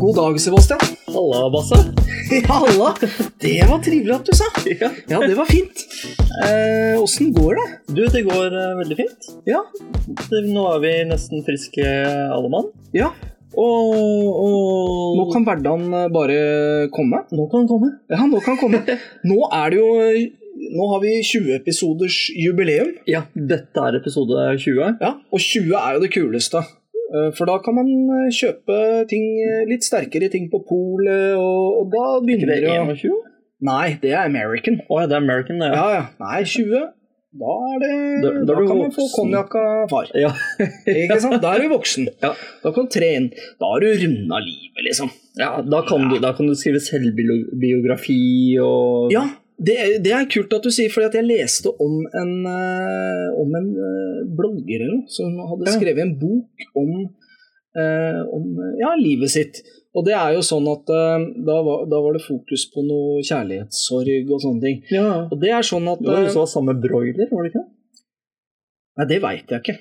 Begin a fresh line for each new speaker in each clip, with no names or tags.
God dag, Sebastian.
Halla, Basse.
Ja, halla. Det var trivelig at du sa.
Ja.
Ja, det var fint. Eh, Åssen går det?
Du, det går eh, veldig fint.
Ja.
Det- Nå er vi nesten friske alle mann.
Ja.
Og, og
Nå kan hverdagen eh, bare komme.
Nå kan den komme.
Ja, nå kan komme. Nå er det jo eh, Nå har vi 20 episoders jubileum.
Ja, dette er episode 20.
Ja, Og 20 er jo det kuleste. Eh, For da kan man eh, kjøpe ting, eh, litt sterkere ting på polet, og, og da
Er
begynner
det
det å
21?
Nei, det er American.
Å ja, det er American, det.
Ja, ja. Nei, 20. Da er det Da,
Da- da er du
kan man få
voksen.
konjakk av far.
Ja.
Ikke sant? Da er du voksen.
Ja.
Da kan du tre inn. Da har du runda livet, liksom.
Ja, da, kan Du, da kan du skrive selvbiografi og
Ja, det, er- det er kult at du sier, fordi at jeg leste om en, eh, om en eh, blogger eller noe, som hadde
Ja.
skrevet en bok om, eh, om eh, ja, livet sitt. Og det er jo sånn at eh, da var, da var det fokus på noe kjærlighetssorg og sånne ting.
ja.
Og det er sånn at
Det var
eh,
jo så samme broiler, var det ikke det?
Nei, det veit jeg ikke.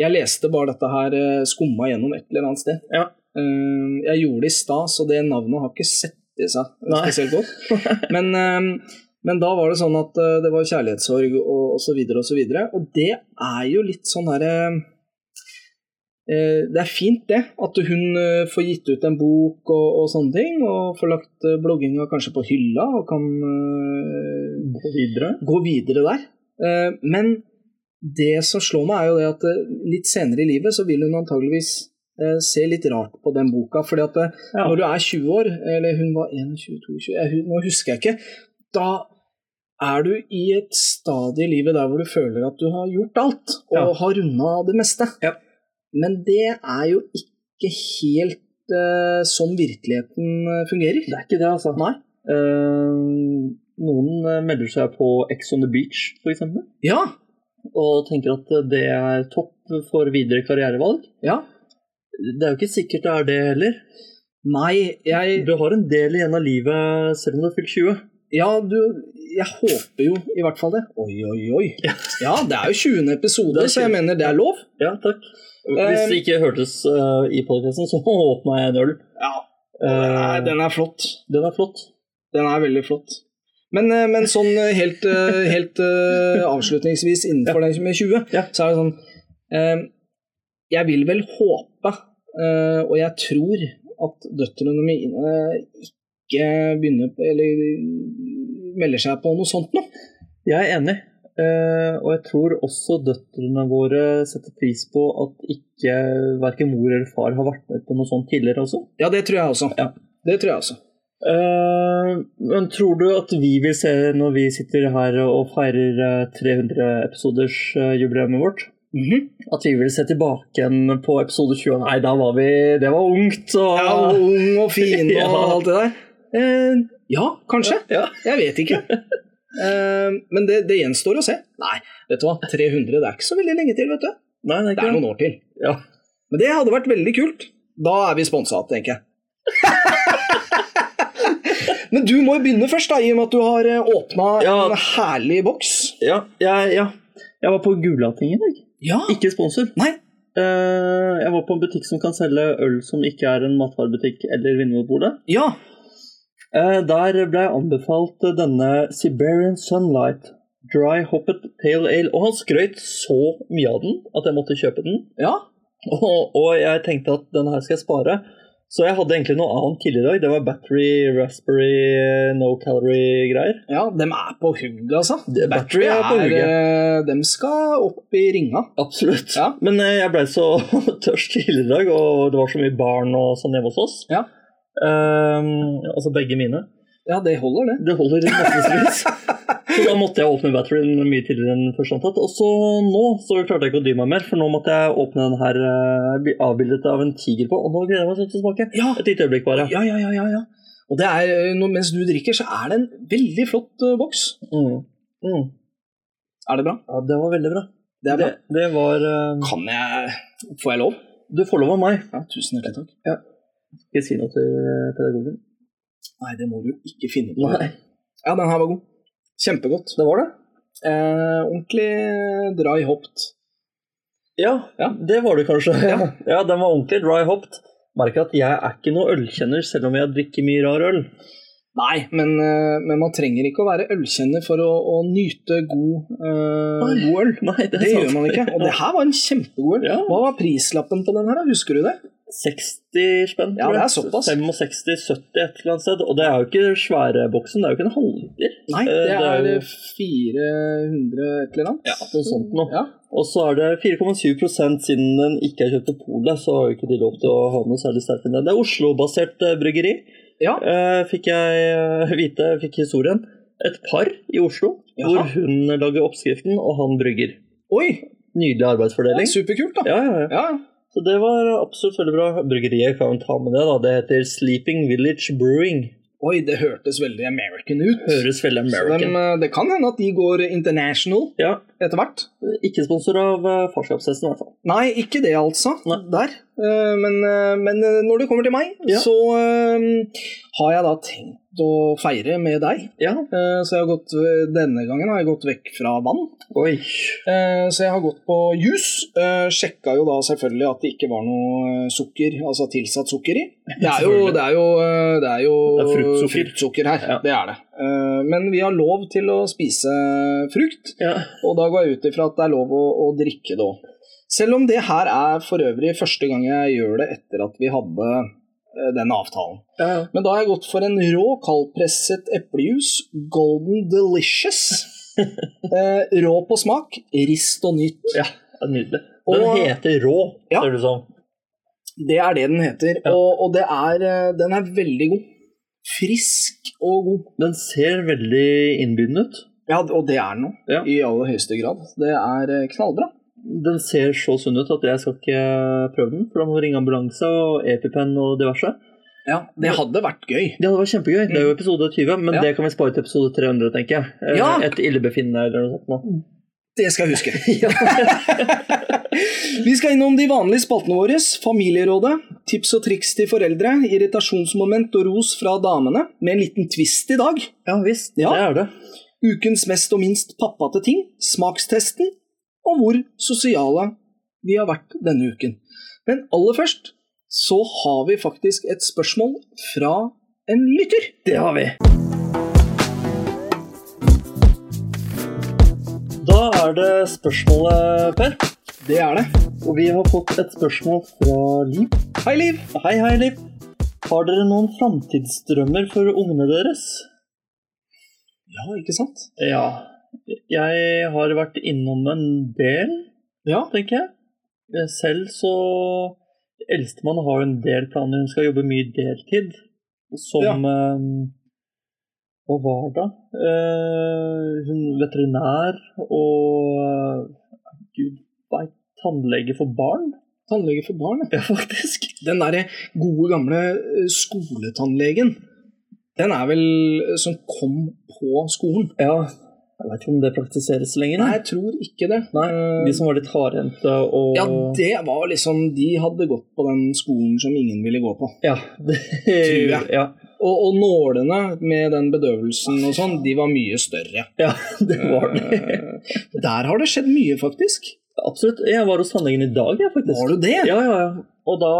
Jeg leste bare dette her eh, skumma gjennom et eller annet sted.
Ja.
Eh, Jeg gjorde det i stad, så det navnet har ikke sett i seg
Nei.
spesielt godt. Men, eh, men da var det sånn at eh, det var kjærlighetssorg og, og så videre og så videre. Og det er jo litt sånn herre Eh, det er fint det, at hun eh, får gitt ut en bok og, og sånne ting, og får lagt eh, blogginga kanskje på hylla og kan eh,
Gå videre.
gå videre der. Eh, Men det som slår meg, er jo det at eh, litt senere i livet så vil hun antageligvis eh, se litt rart på den boka. fordi at eh,
Ja.
når du er 20 år, eller hun var 21, 22 jeg hu- Nå husker jeg ikke. Da er du i et stadie i livet der hvor du føler at du har gjort alt, og
Ja.
har runda det meste.
Ja.
Men det er jo ikke helt eh, sånn virkeligheten eh, fungerer.
Det er ikke det, altså.
Nei.
Eh, noen eh, melder seg på Ex on the Beach, for eksempel.
Ja,
og tenker at det er topp for videre karrierevalg.
ja.
Det er jo ikke sikkert det er det heller.
Nei, jeg
Du har en del igjen av livet selv om du har fylt 20.
Ja, du, jeg håper jo i hvert fall det. Oi, oi, oi. Ja, det er jo 20. episode,
Det er
så jeg
20.
mener det er lov.
Ja, takk. Hvis det ikke hørtes eh, i podkasten, så åpna jeg en øl.
Ja,
Eh,
den er flott.
den er flott.
Den er veldig flott. Men, eh, men sånn eh, helt, eh, helt eh, avslutningsvis innenfor den med 20,
Ja.
så er det sånn eh, Jeg vil vel håpe, eh, og jeg tror, at døtrene mine ikke begynner på- Eller melder seg på noe sånt nå.
Jeg er enig. Eh, og jeg tror også døtrene våre setter pris på at ikke verken mor eller far har vært med på noe sånt tidligere også.
Ja, det tror jeg også.
Ja.
Det tror jeg også.
Eh, men tror du at vi vil se når vi sitter her og feirer eh, 300-episoders uh, jubileet vårt?
Mhm.
At vi vil se tilbake igjen på episode 20 Nei, da var vi Det var ungt og
Ja, og ung og fin og
Ja.
alt det der. Eh, ja, kanskje.
Ja.
Jeg vet ikke. Eh, men det, det gjenstår å se. Nei, vet du hva. 300 det er ikke så veldig lenge til, vet du.
Nei, det er
Det
ikke
er noen år til.
Ja.
Men det hadde vært veldig kult. Da er vi sponsa, tenker jeg. men du må jo begynne først, da, i og med at du har åpna
Ja.
en herlig boks.
Ja, jeg, ja. jeg var på Gulating i dag.
Ja.
Ikke sponsor.
Nei.
Eh, jeg var på en butikk som kan selge øl som ikke er en matvarebutikk eller Vinmonopole.
Ja.
Eh, der ble jeg anbefalt eh, denne Siberian Sunlight Dry Hoppet Pale Ale. Og han skrøt så mye av den at jeg måtte kjøpe den.
Ja.
Og, og jeg tenkte at denne her skal jeg spare. Så jeg hadde egentlig noe annet tidligere i dag. Det var battery, raspberry, no calorie-greier.
ja dem er på hugget, altså.
Det- Battery er på hugget.
eh, Dem skal opp i ringa.
Absolutt.
Ja.
Men eh, jeg blei så tørst tidligere i dag, og det var så mye barn og sånn hjemme hos oss.
Ja.
Ehm, altså begge mine.
Ja, det holder, det.
Det holder i massevis. Så da måtte jeg åpne batterien mye tidligere enn først antatt. Og så nå så klarte jeg ikke å dy meg mer, for nå måtte jeg åpne den her eh, avbildet av en tiger på. Og nå gleder jeg meg sånn til å smake.
Ja,
Et lite øyeblikk, bare.
Ja, ja, ja, ja, ja. Og det er, eh, når, mens du drikker, så er det en veldig flott eh, boks.
Mm. Mm.
Er det bra?
Ja, det var veldig bra.
Det er bra.
Det, det var eh,
Kan jeg Får jeg lov?
Du får lov av meg.
Ja, tusen hjertelig takk.
Ikke si noe til eh, pedagogen.
Nei, det må du ikke finne på.
Nei.
Ja, den her var god. Kjempegodt.
Det var det?
Eh, ordentlig eh, dry hopped.
Ja,
Ja.
det var det kanskje.
Ja.
Ja, den var ordentlig dry hopped. merker at jeg er ikke noe ølkjenner, selv om jeg drikker mye rar øl.
Nei, men, eh, men man trenger ikke å være ølkjenner for å, å nyte god, eh,
Nei,
god øl.
Nei, det, er
Det gjør
sant.
man ikke. Og det her var en kjempegod øl.
Ja.
Hva var prislappen på den her, da? husker du det?
60 spenn,
Ja,
tror
det er
jeg.
såpass.
65-70 et eller annet sted. Og det er jo ikke svære boksen, det er jo ikke en halvliter.
Nei,
Eh,
det er
jo-
eh, 400 et eller annet.
Ja, noe sånt noe.
Ja.
Og så er det 4,7 siden den ikke er kjøpt på polet, så har jo ikke de lov til å ha noe særlig sterkt enn det. Det er Oslo-basert eh, bryggeri,
Ja.
eh, fikk jeg eh, vite, fikk historien. Et par i Oslo,
Jaha.
hvor hun lager oppskriften og han brygger.
Oi,
Nydelig
det
arbeidsfordeling.
er superkult, da.
Ja, ja, ja.
Ja.
Så det var absolutt veldig bra. Bryggeriet kan vi ta med det, da. Det heter Sleeping Village Brewing.
Oi, det hørtes veldig American ut.
Høres veldig
Så dem,
American.
eh, det kan hende at de går international
Ja,
etter hvert.
ikke sponsor av eh, farskapshesten, i hvert fall.
Nei, ikke det altså.
Nei.
Der. Eh, Men, eh, men eh, når det kommer til meg,
Ja.
så eh, har jeg da tenkt å feire med deg.
Ja.
Eh, Så jeg har gått, denne gangen har jeg gått vekk fra vann.
Oi.
Eh, Så jeg har gått på juice. Eh, Sjekka jo da selvfølgelig at det ikke var noe eh, sukker, altså tilsatt sukker i. Det er jo,
Selvfølgelig.
det er jo, eh, det er jo
Det er fruktsukker.
fruktsukker her.
Ja.
Det er det. Eh, Men vi har lov til å spise frukt.
Ja.
Og da går jeg ut ifra at det er lov å, å drikke det òg. Selv om det her er for øvrig første gang jeg gjør det etter at vi hadde eh, den avtalen.
Ja.
Men da har jeg gått for en rå, kaldpresset eplejus, golden delicious. eh, rå på smak, rist og nyt.
ja. det er Nydelig. Den
Og-
heter Rå,
Ja.
ser det ut som.
Det er det den heter,
Ja.
og, og det er, eh, den er veldig god. Frisk og god.
Den ser veldig innbydende ut.
Ja, og det er den nå,
Ja.
i aller høyeste grad. Det er eh, knallbra.
Den ser så sunn ut at jeg skal ikke eh, prøve den. For da må du ringe ambulanse og E EpiPen og diverse.
Ja, Det hadde vært gøy.
Det hadde vært kjempegøy. Det er jo episode 20,
Mm.
men
Ja.
det kan vi spare til episode 300, tenker jeg. Eh,
Ja.
Et illebefinnende eller noe sånt. nå.
Det skal jeg huske.
Ja.
Vi skal innom de vanlige spaltene våre. Familierådet, tips og triks til foreldre, irritasjonsmoment og ros fra damene, med en liten twist i dag.
ja visst,
Ja.
det er det.
Ukens mest og minst pappate ting, smakstesten, og hvor sosiale vi har vært denne uken. Men aller først så har vi faktisk et spørsmål fra en lytter.
Det har vi. Da er det spørsmålet, Per.
Det er det.
Og vi har fått et spørsmål fra Liv.
Hei, Liv.
Hei, hei, Liv. Har dere noen framtidsdrømmer for ungene deres?
Ja, ikke sant?
Ja. Jeg har vært innom en del,
Ja.
tenker jeg. Eh, Selv så Eldstemann har jo en del planer. Hun skal jobbe mye deltid. Som
Ja.
eh, Hva var det? Eh, hun veterinær og Gud veit Tannlege for barn?
Tannlege for barn, ja.
Ja, faktisk.
Den derre gode gamle eh, skoletannlegen, den er vel eh, som kom på skolen?
Ja, jeg veit ikke om det praktiseres lenger.
Nei,
Nei.
jeg tror ikke det. Eh,
De som var litt hardhendte og
ja, det var liksom De hadde gått på den skolen som ingen ville gå på.
Ja, det
Tror jeg.
Ja,
Og, og nålene med den bedøvelsen og sånn, de var mye større.
ja, det var det.
Eh, Der har det skjedd mye, faktisk.
Absolutt. Jeg var hos tannlegen i dag, jeg, faktisk.
Var du det?
Ja, ja, ja. Og, da,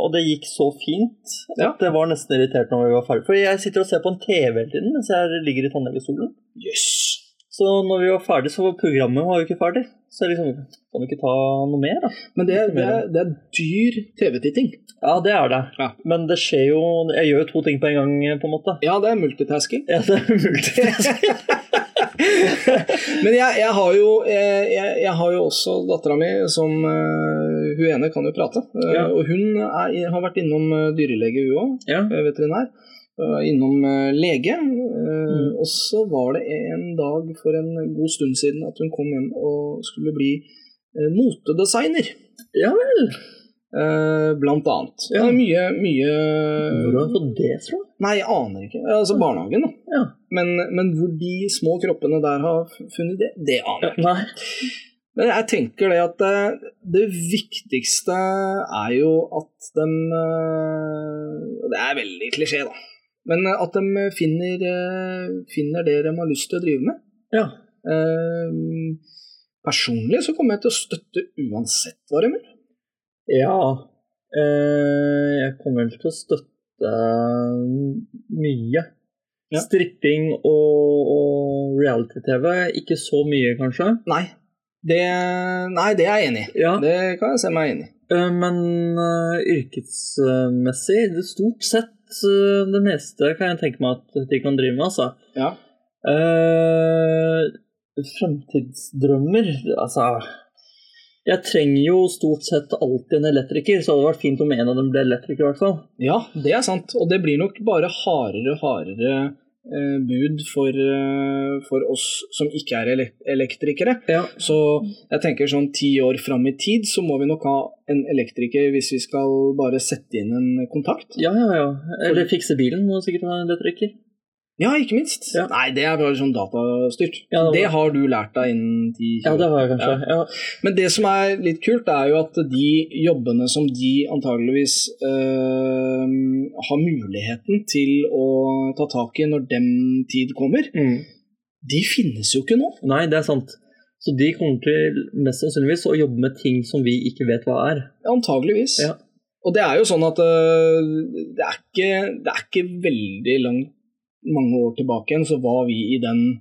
og det gikk så fint at
Ja.
det var nesten irritert når vi var ferdig. For jeg sitter og ser på en TV hele tiden mens jeg ligger i tannlegestolen.
Jøss.
Så når vi var ferdig, så var programmet var jo ikke ferdig. Så jeg liksom Kan du ikke ta noe mer, da?
Men det, det, er, det er dyr TV-titting.
Ja, det er det.
Ja.
Men det skjer jo Jeg gjør jo to ting på en gang, eh, på en måte.
Ja, det er multitasking.
Ja, det er mulig.
Men jeg, jeg, har jo, jeg, jeg, jeg har jo også dattera mi som eh, Hun ene kan jo prate. eh,
Ja.
Og hun er, har vært innom eh, dyrelege, hun òg.
ja.
Veterinær. eh, Innom eh, lege. eh,
Mm.
Og så var det en dag for en god stund siden at hun kom hjem og skulle bli eh, motedesigner.
Ja
vel. Blant annet.
Ja.
Det er mye, mye
Hvor har du fått det fra?
Nei, jeg aner ikke. Altså barnehagen, da.
Mm. Ja.
Men, men hvor de små kroppene der har funnet det, det aner jeg ikke.
Nei.
Men jeg tenker det at det, det viktigste er jo at de Og det er veldig klisjé, da. Men eh, at de finner, eh, finner det de har lyst til å drive med.
Ja.
Eh, Personlig så kommer jeg til å støtte uansett hva de gjør.
ja. Eh, jeg kommer vel til å støtte mye.
Ja.
Stripping og, og reality-TV. Ikke så mye, kanskje.
Nei. Det, nei, det er jeg enig i.
Ja,
Det kan jeg se meg enig i.
eh, Men eh, yrkesmessig det er Stort sett eh, det meste kan jeg tenke meg at de kan drive med, altså.
Ja.
Eh, Fremtidsdrømmer Altså Jeg trenger jo stort sett alltid en elektriker, så det hadde vært fint om en av dem ble elektriker, i hvert fall.
ja, det er sant. Og det blir nok bare hardere og hardere eh, bud for, eh, for oss som ikke er elek elektrikere.
Ja.
Så jeg tenker sånn ti år fram i tid så må vi nok ha en elektriker hvis vi skal bare sette inn en kontakt.
Ja, ja, ja. Eller fikse bilen må sikkert være en elektriker.
Ja, ikke minst.
Ja.
Nei, det er bare sånn datastyrt.
Ja, det var-
det har du lært deg innen 10-20
Ja,
år.
det har jeg kanskje. Ja.
Men det som er litt kult, er jo at de jobbene som de antageligvis eh, har muligheten til å ta tak i når den tid kommer,
Mm.
de finnes jo ikke nå.
Nei, det er sant. Så de kommer til mest sannsynligvis å jobbe med ting som vi ikke vet hva er.
Antageligvis.
Ja.
Og det er jo sånn at eh, det, er ikke, det er ikke veldig langt mange år tilbake igjen, så var vi i den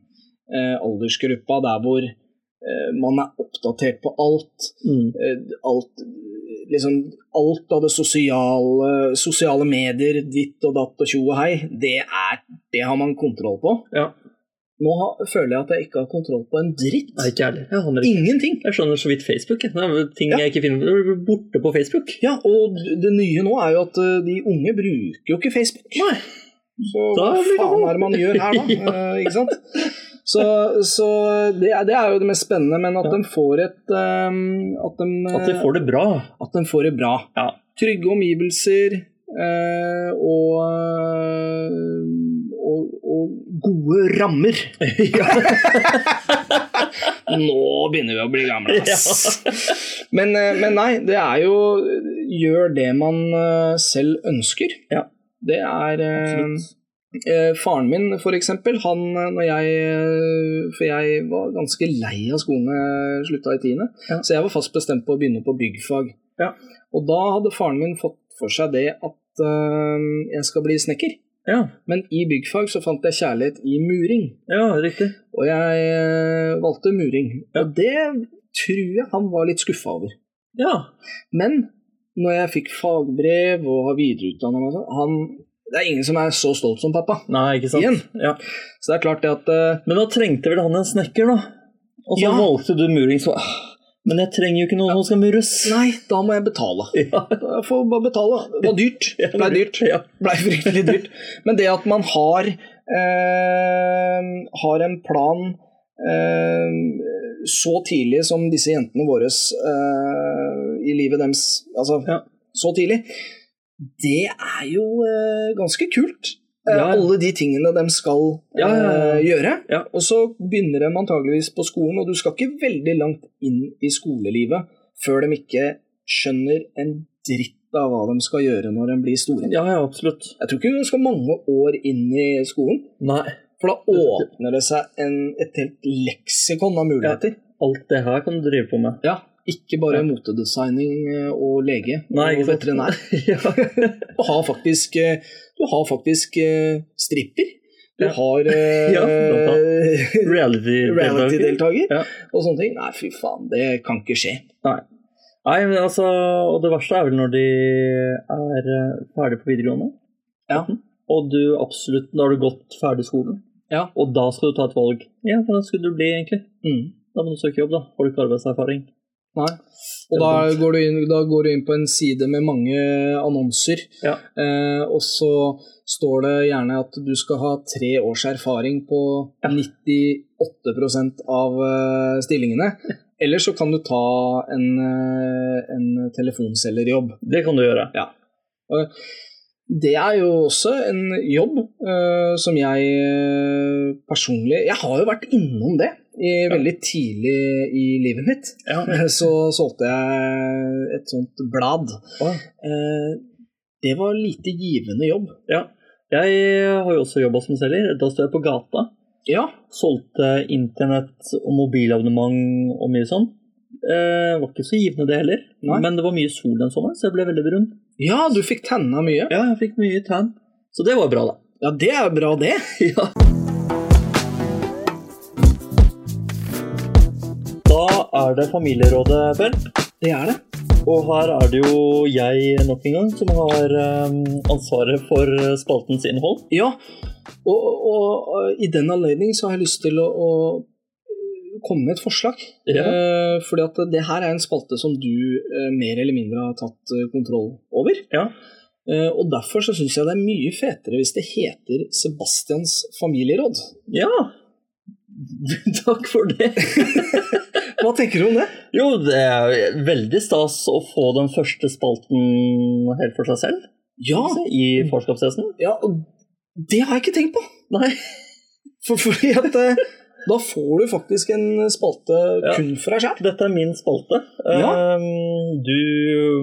eh, aldersgruppa der hvor eh, man er oppdatert på alt.
Mm.
eh, alt, liksom, alt av det sosiale, sosiale medier, ditt og datt og tjo og hei, det, er, det har man kontroll på.
Ja.
Nå har, føler jeg at jeg ikke har kontroll på en dritt.
Nei, ikke ærlig. Jeg aner ikke.
Ingenting.
Jeg skjønner så vidt Facebook. jeg. Det er ting
Ja.
jeg ikke finner Jeg blir borte på Facebook.
Ja, og det nye nå er jo at eh, de unge bruker jo ikke Facebook.
Nei.
Så hva
Da blir det
faen
vondt.
er det man gjør her, da? Eh, ikke sant? Så, så det, er, det er jo det mest spennende, men at
Ja.
de får et eh, At de,
At de får det bra.
at den får det bra.
Ja.
Trygge omgivelser eh, og, eh, og, og gode rammer. Nå begynner vi å bli gamle, ass. Men, eh, men nei, det er jo Gjør det man eh, selv ønsker.
Ja.
Det er eh,
Absolutt.
eh, Faren min, for eksempel, han eh, når jeg eh, For jeg var ganske lei av skolen da jeg slutta i tiende,
Ja.
så jeg var fast bestemt på å begynne på byggfag.
Ja.
Og da hadde faren min fått for seg det at eh, jeg skal bli snekker.
Ja.
Men i byggfag så fant jeg kjærlighet i muring,
ja, riktig.
og jeg eh, valgte muring. Og det tror jeg han var litt skuffa over.
Ja.
Men når jeg fikk fagbrev og har videreutdanna meg og sånn, han- Det er ingen som er så stolt som pappa.
Nei, ikke sant.
Igjen.
Ja.
Så det er klart det at eh,
Men da trengte vel han en snekker, da. Og så
Ja.
valgte du muring, så «Ah, Men jeg trenger jo ikke noen som skal mures.
Nei, da må jeg betale.
Ja.
Jeg får bare betale. Det var dyrt. Det ble dyrt.
Ja.
Blei fryktelig dyrt. Men det at man har eh, har en plan eh, så tidlig som disse jentene våre eh, i livet deres Altså
Ja.
så tidlig, det er jo eh, ganske kult. Eh,
Ja.
Alle de tingene de skal eh,
Ja, ja, ja.
gjøre.
Ja.
Og så begynner de antageligvis på skolen, og du skal ikke veldig langt inn i skolelivet før de ikke skjønner en dritt av hva de skal gjøre når de blir store.
ja, ja, absolutt.
Jeg tror ikke du skal mange år inn i skolen,
Nei.
for da åpner det seg en, et helt leksikon av muligheter.
Alt det her kan du drive på med.
Ja. Ikke bare
Ja.
motedesigning eh, og lege og
Nei, ikke sant.
veterinær.
ja.
Du har faktisk, eh, du har faktisk eh, stripper. Du
Ja.
har eh,
Ja, blant Reality-deltaker.
reality-deltaker
Ja.
og sånne ting. Nei, fy faen, det kan ikke skje.
Nei, men altså, og det verste er vel når de er eh, ferdig på videregående.
Ja.
Mhm. Og du absolutt, da har du gått ferdig skolen.
Ja.
Og da skal du ta et valg. Ja, hva skulle du bli egentlig?
Mm.
Da må du søke jobb, da. Har du ikke arbeidserfaring?
Nei. Og da går, du inn, da går du inn på en side med mange annonser,
Ja.
eh, og så står det gjerne at du skal ha tre års erfaring på 98 av eh, stillingene. Eller så kan du ta en, eh, en telefonselgerjobb.
Det kan du gjøre.
Og Det er jo også en jobb eh, som jeg eh, personlig Jeg har jo vært innom det i, veldig tidlig i livet mitt. Så solgte jeg et sånt blad.
Åh.
Eh, det var lite givende jobb.
Jeg har jo også jobba som selger. Da står jeg på gata.
Ja.
Solgte internett og mobilabonnement og mye sånn. Eh, var ikke så givende det heller,
Nei.
men det var mye sol den sommeren, så jeg ble veldig brun.
Ja, du fikk tenna mye.
Ja, jeg fikk mye tan. Så det var bra, da.
Ja, det er bra, det.
Ja. Da er det Familierådet, Bell.
Det er det.
Og her er det jo jeg nok en gang som har eh, ansvaret for eh, spaltens innhold.
Ja, og, og, og i den anledning så har jeg lyst til å, å komme med et forslag.
Ja.
Eh, fordi at det her er en spalte som du eh, mer eller mindre har tatt eh, kontroll over.
Ja.
Eh, og derfor så syns jeg det er mye fetere hvis det heter Sebastians familieråd.
ja. Takk for det.
Hva tenker du om det?
Jo, det er veldig stas å få den første spalten helt for seg selv
Ja,
i
Mm.
farskapshesten.
ja og det har jeg ikke tenkt på.
Nei.
For, fordi at eh, da får du faktisk en spalte
Ja.
kun for deg sjæl.
Dette er min spalte.
Ja.
Ehm, Du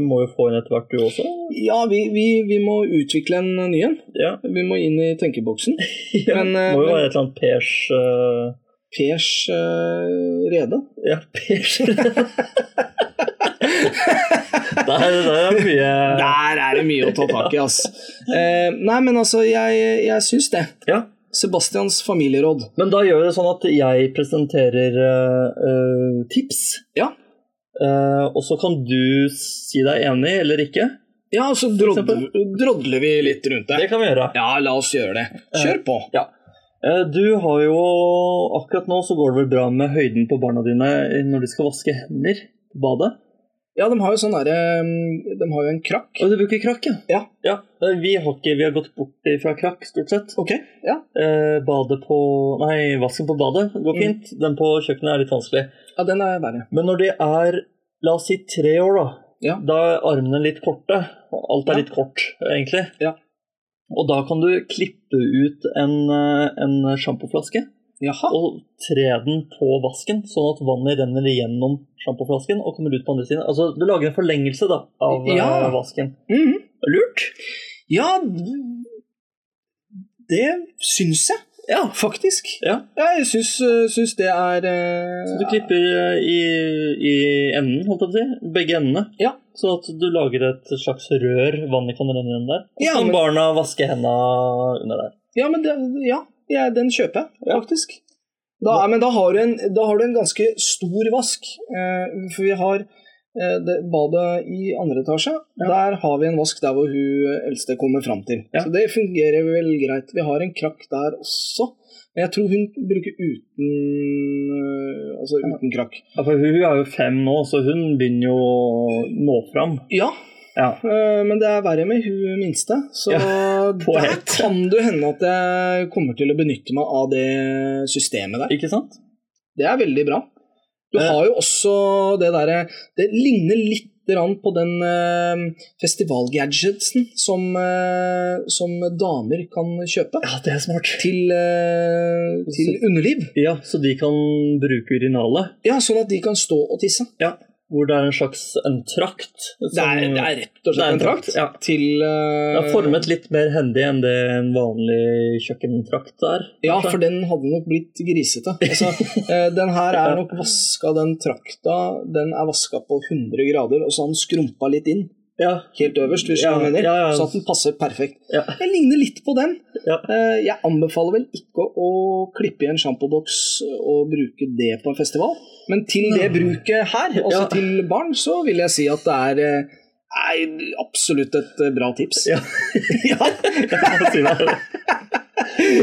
må jo få en etter hvert, du også.
Ja, vi, vi, vi må utvikle en ny en.
Ja.
Vi må inn i tenkeboksen. Men,
det
eh,
må jo
men-
være et eller annet pers eh,
Pers eh, Rede.
Ja, pers der, der er mye
Der er det mye å ta tak i, ass. Eh, nei, men altså, jeg, jeg syns det.
Ja.
Sebastians familieråd.
Men da gjør vi det sånn at jeg presenterer eh, eh, tips.
Ja.
Eh, og så kan du si deg enig eller ikke.
Ja, og så
eksempel?
drodler, drodler vi litt rundt
Det
det.
kan vi gjøre.
Ja, la oss gjøre det. Kjør på.
Eh, Du har jo Akkurat nå så går det vel bra med høyden på barna dine når de skal vaske hender på badet.
Ja, de har jo sånn derre De har jo en krakk.
Og du bruker krakk, ja?
Ja.
Eh, Vi har, ikke, vi har gått bort fra krakk, stort sett.
Ok. Ja.
Eh, badet på Nei, vasken på badet går
Mm.
fint. Den på kjøkkenet er litt vanskelig.
ja, den er verre.
Men når de er, la oss si tre år, da,
Ja.
da er armene litt korte. Alt er
Ja.
litt kort, egentlig.
Ja.
Og da kan du klippe ut en, eh, en sjampoflaske
Jaha.
og tre den på vasken, sånn at vannet renner igjennom sjampoflasken og kommer ut på andre siden. Altså, du lager en forlengelse da, av eh,
Ja.
vasken.
Mhm.
Lurt.
Ja, det syns jeg. Ja, faktisk.
Ja.
Jeg syns, syns det er eh,
Så du klipper eh, i, i enden, holdt jeg på å si. Begge endene.
Ja.
Så at du lager et slags rør vannet kan renne gjennom der. Og så
Ja,
kan
men-
barna vaske henda under der.
Ja, men det, ja, jeg- den kjøper jeg faktisk. Da, men da har, du en, da har du en ganske stor vask. Eh, for vi har eh, det, badet i andre etasje.
Ja.
Der har vi en vask der hvor hun eh, eldste kommer fram til.
Ja.
Så det fungerer vel greit. Vi har en krakk der også. Men jeg tror hun bruker uten eh, Altså
Ja.
uten krakk.
Ja, for hun er jo fem nå, så hun begynner jo å nå fram.
Ja,
Ja.
eh, men det er verre med hun minste. Så
Ja, på
der
ett.
kan det hende at jeg kommer til å benytte meg av det systemet der.
Ikke sant?
Det er veldig bra. Du
Eh.
har jo også det derre Det ligner litt grann på den eh, festivalgadgetsen som, eh, som damer kan kjøpe
Ja, det er smart.
til, eh, til underliv.
Ja, så de kan bruke urinalet,
Ja, Sånn at de kan stå og tisse.
hvor det er en slags en trakt.
Det er,
som-
det er rett og
Det er
slett en trakt
ja.
til eh,
Den er formet litt mer hendig enn det en vanlig kjøkkentrakt er.
Ja,
kanskje.
for den hadde nok blitt grisete. Altså, eh, den her er nok vaska, den trakta den er vaska på 100 grader, og så har den skrumpa litt inn.
ja.
helt øverst, hvis du skjønner hva jeg mener.
Ja, ja, ja.
Så at den passer perfekt.
Ja.
Jeg ligner litt på den.
Ja.
Eh, Jeg anbefaler vel ikke å klippe i en sjampoboks og bruke det på en festival, men til det bruket her, altså
Ja.
til barn, så vil jeg si at det er eh, Nei, absolutt et eh, bra tips.
Ja.
Ja.
Jeg må si det.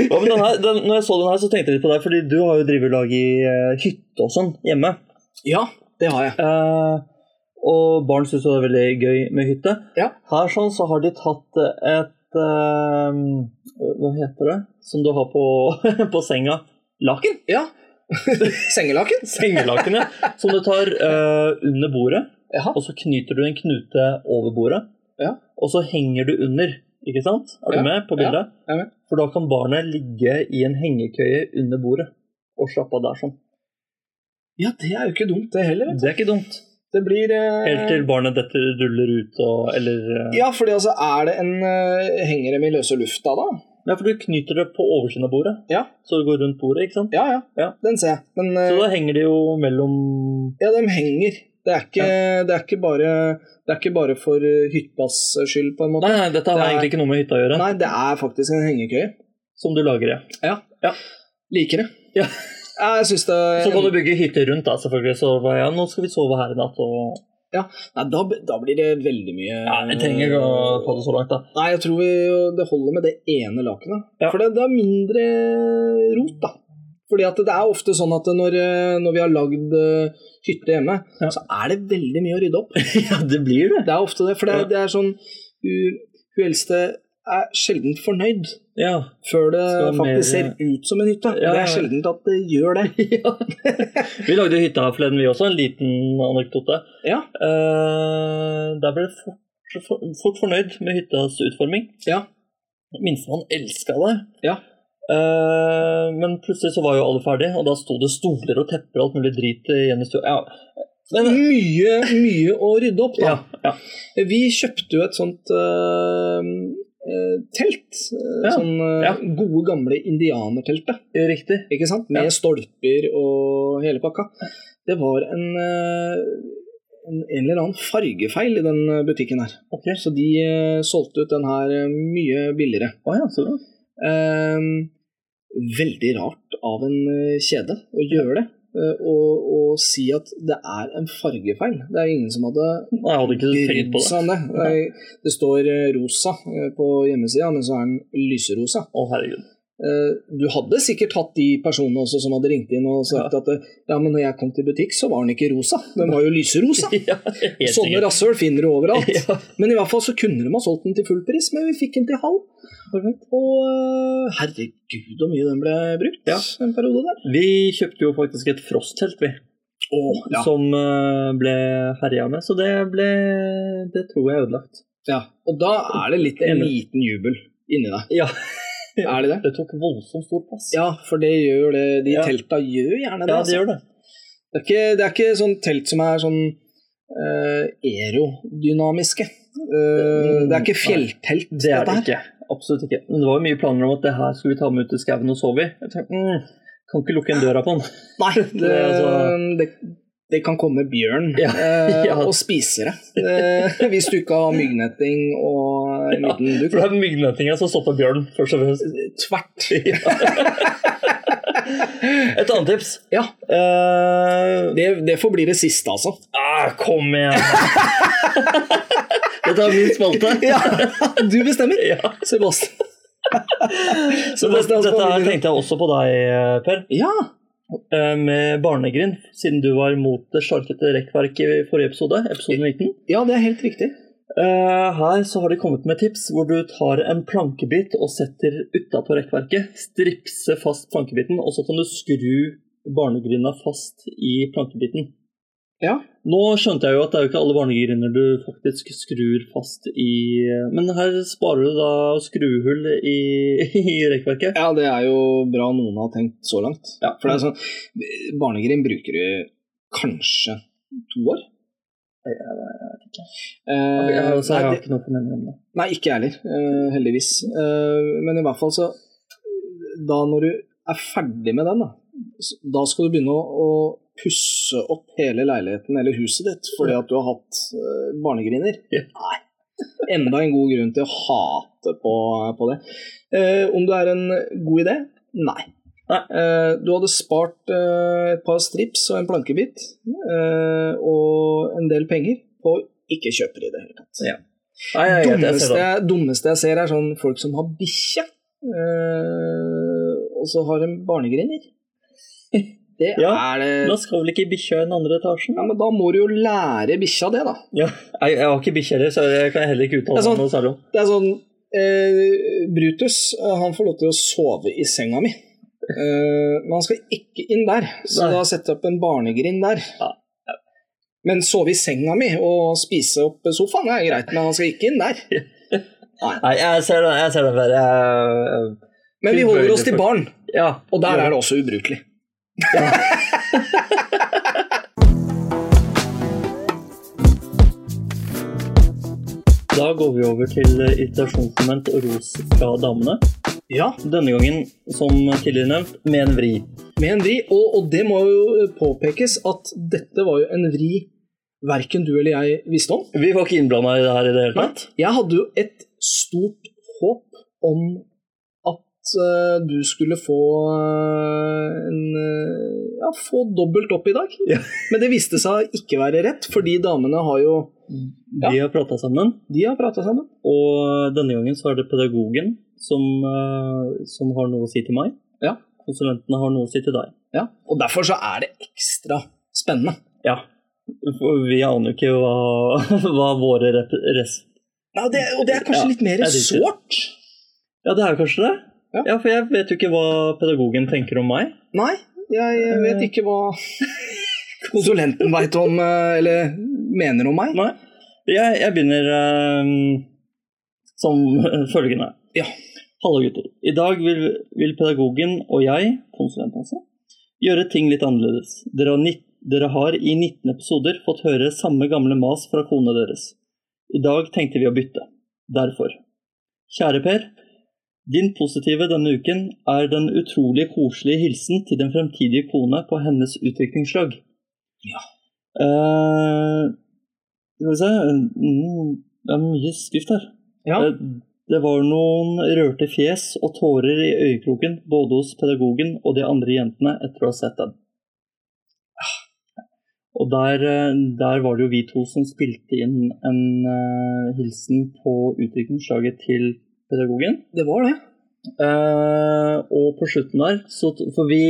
Ja, men den her, den, når jeg så den her, så tenkte jeg litt på deg, fordi du har jo drivelag i eh, hytte og sånn hjemme.
ja, det har jeg.
Eh, og barn syns jo det er veldig gøy med hytte.
Ja.
Her sånn så har de tatt et eh, Hva heter det? Som du har på, på senga. Laken?
Ja. Sengelaken?
Sengelaken, ja. Som du tar eh, under bordet,
Jaha.
og så knyter du en knute over bordet.
Ja.
Og så henger du under, ikke sant? Er du
Ja,
med på bildet?
jeg er med.
For da kan barnet ligge i en hengekøye under bordet og slappe av der sånn.
Ja, det er jo ikke dumt, det heller. vet du.
Det er ikke dumt.
Det blir eh,
Helt til barnet dette ruller ut og eller eh,
Ja, fordi altså, er det en eh, Henger dem i løse lufta da?
Ja, for du knyter det på oversiden av bordet,
Ja.
så det går rundt bordet, ikke sant?
Ja, ja.
Ja.
Den ser jeg. Men eh,
Så da henger det jo mellom
Ja, de henger. Det er ikke, det er ikke, bare, det er ikke bare for eh, hyttas skyld, på en måte.
Nei, nei, dette har
Det er-
egentlig ikke noe med hytta å gjøre.
Nei, det er faktisk en hengekøye.
Som du lager, ja.
Liker det.
Ja.
Ja, jeg syns det
Så kan du bygge hytter rundt, da, selvfølgelig. Så bare, ja, nå skal vi sove her i natt, og
Nei, da, da blir det veldig mye
ja, Vi trenger ikke å ta det så langt, da.
Nei, jeg tror vi, det holder med det ene lakenet.
Ja.
For det, det er mindre rot, da. Fordi at det er ofte sånn at når, eh, når vi har lagd eh, hytte hjemme,
Ja.
så er det veldig mye å rydde opp.
ja, det blir det.
Det er ofte det, for det,
Ja.
det er sånn Hun hun eldste er sjelden fornøyd
Ja.
før det
Skal mer- eh,
faktisk ser ut som en hytte.
Ja,
Det
ja.
er sjelden at det gjør det.
Vi lagde jo hytta her forleden, vi også. En liten anekdote.
Ja.
Eh, der ble fort, for, fort fornøyd med hyttas utforming.
Ja.
Minstemann elska det.
Ja.
Eh, men plutselig så var jo alle ferdige, og da sto det stoler og tepper og alt mulig drit igjen i stua. Ja. Men, eh,
Mye, mye å rydde opp, da.
ja, ja.
Vi kjøpte jo et sånt øh, øh, telt. øh,
Ja,
Sånn øh,
ja.
gode, gamle indianerteltet.
Riktig.
Ikke sant? Med
Ja.
stolper og hele pakka. Det var en, øh, en, en eller annen fargefeil i den øh, butikken her.
Ok.
Så de øh, solgte ut den her øh, mye billigere.
Å ja, så bra.
Ehm, veldig rart av en eh, kjede å gjøre det. eh, og, og si at det er en fargefeil. Det er ingen som hadde
Nei, Jeg hadde ikke tenkt
brydd
på
seg
det.
om det. Det, er, det står eh, rosa eh, på hjemmesida, men så er den lyserosa.
Å herregud.
Eh, du hadde sikkert hatt de personene også som hadde ringt inn og sagt at eh, ja, men når jeg kom til butikk, så var den ikke rosa, den var jo lyserosa.
Ja, helt
Sånne
sikkert.
rasshøl finner du overalt.
Ja.
Men i hvert fall så kunne de ha solgt den til full pris, men vi fikk den til halv. Og øh, herregud hvor mye den ble brukt
Ja.
en periode der.
Vi kjøpte jo faktisk et frosttelt, vi.
ja.
Som eh, ble herja med. Så det ble Det tror jeg er ødelagt.
Ja. Og da er det litt en
Enig.
liten jubel inni deg.
Ja.
Er det det?
Det tok voldsomt stor plass.
Ja, for det gjør det. De
Ja.
telta gjør gjerne det.
Ja,
altså.
det gjør det.
Det, er ikke, det er ikke sånn telt som er sånn øh, aerodynamiske. Øh, det er ikke fjelltelt,
Det er det
dette her.
ikke. Absolutt ikke. Men det var jo mye planer om at det her skulle vi ta med ut i skauen og sove i. Jeg tenkte, mm, kan ikke lukke en døra på den.
Nei, det,
Det er altså-
det, det kan komme bjørn
Ja,
eh,
ja.
og spise det. Eh, hvis du ikke har myggnetting og en
Ja,
liten duk.
For det er myggnettinga som stopper bjørnen, først og fremst.
Tvert.
Et annet tips.
Ja,
Eh,
det, det får bli det siste, altså.
ah, kom igjen! Dette er min spalte.
Ja, du bestemmer.
Ja.
Sebastian.
Så dette, dette her tenkte jeg også på deg, Per.
Ja,
Eh, Med barnegrind, siden du var mot det sjarkete rekkverket i forrige episode. episode 19.
ja, det er helt riktig.
Eh, her så har de kommet med tips hvor du tar en plankebit og setter utapå rekkverket. Stripser fast plankebiten, og så kan du skru barnegrinda fast i plankebiten.
Ja.
Nå skjønte jeg jo at det er jo ikke alle barnegrinder du faktisk skrur fast i Men her sparer du da skruhull i, i rekkverket.
Ja, det er jo bra noen har tenkt så langt.
Ja,
For det er sånn, barnegrim bruker du kanskje to år.
Ja,
Eh,
altså, jeg
nei,
har
det-
ikke noe formening om det.
Nei, ikke jeg heller, eh, heldigvis. Eh, men i hvert fall så Da når du er ferdig med den, da, s- da skal du begynne å, å pusse opp hele leiligheten eller huset ditt fordi at du har hatt eh, barnegriner.
Ja.
Nei. Enda en god grunn til å hate på, på det. Eh, om det er en god idé? Nei.
Nei.
Eh, du hadde spart eh, et par strips og en plankebit eh, og en del penger på å ikke kjøpe det i det hele tatt.
Ja. Nei, jeg, jeg, jeg, jeg, ser
Dummeste,
det.
dummeste jeg ser, er sånn folk som har bikkje, eh, og så har de barnegriner. Det
Ja,
er det
Da skal vel ikke bikkja i den andre etasjen?
ja, men Da må du jo lære bikkja det, da.
Ja, jeg, jeg har ikke bikkje heller, så jeg kan heller ikke uttale
Det er
meg
sånn-
noe særlig om.
Det er sånn eh, Brutus eh, han får lov til å sove i senga mi, eh, men han skal ikke inn der. Så
Nei.
da setter jeg opp en barnegrind der.
Ja.
Men sove i senga mi og spise opp sofaen det er greit, men han skal ikke inn der.
Nei, jeg ser den, jeg ser den der. Jeg,
Men vi holder oss til barn,
ja.
og der er det også ubrukelig.
Da går vi over til eh, irritasjonsmoment og ros fra damene.
Ja,
Denne gangen, som tidligere nevnt, med en vri.
Med en vri, og, og det må jo påpekes at dette var jo en vri verken du eller jeg visste om.
Vi var ikke innblanda i det her i det hele tatt.
Jeg hadde jo et stort håp om at eh, du skulle få eh, en eh, Ja, få dobbelt opp i dag.
Ja.
Men det viste seg ikke være rett, fordi damene har jo
De har prata sammen,
De har prata sammen.
og denne gangen så er det pedagogen som, eh, som har noe å si til meg.
Ja.
Konsulentene har noe å si til deg.
Ja. Og derfor så er det ekstra spennende.
Ja. For Vi aner jo ikke hva, hva våre rep res...
Ja, det, og det er kanskje
Ja,
litt mer
jeg liker det.
sårt?
Ja, det er kanskje det?
Ja.
ja, for jeg vet jo ikke hva pedagogen tenker om meg.
Nei, jeg
Eh.
vet ikke hva konsulenten veit om, eh, eller mener om meg.
Nei. Jeg, jeg begynner eh, som følgende.
Ja.
Hallo, gutter. I dag vil, vil pedagogen og jeg, konsulenten altså, gjøre ting litt annerledes. Dere har, nitt- dere har i 19 episoder fått høre samme gamle mas fra konene deres. I dag tenkte vi å bytte. Derfor. Kjære Per. Din positive denne uken er den utrolig koselige hilsen til den fremtidige kone på hennes utviklingslag.
Ja.
Eh, skal vi se mm, Det er mye skrift her.
Ja.
Eh, Det var noen rørte fjes og tårer i øyekroken både hos pedagogen og de andre jentene etter å ha sett den. Ah. Og der, eh, der var det jo vi to som spilte inn en eh, hilsen på utviklingslaget til pedagogen.
Det var det.
Eh, og på slutten der, så, for vi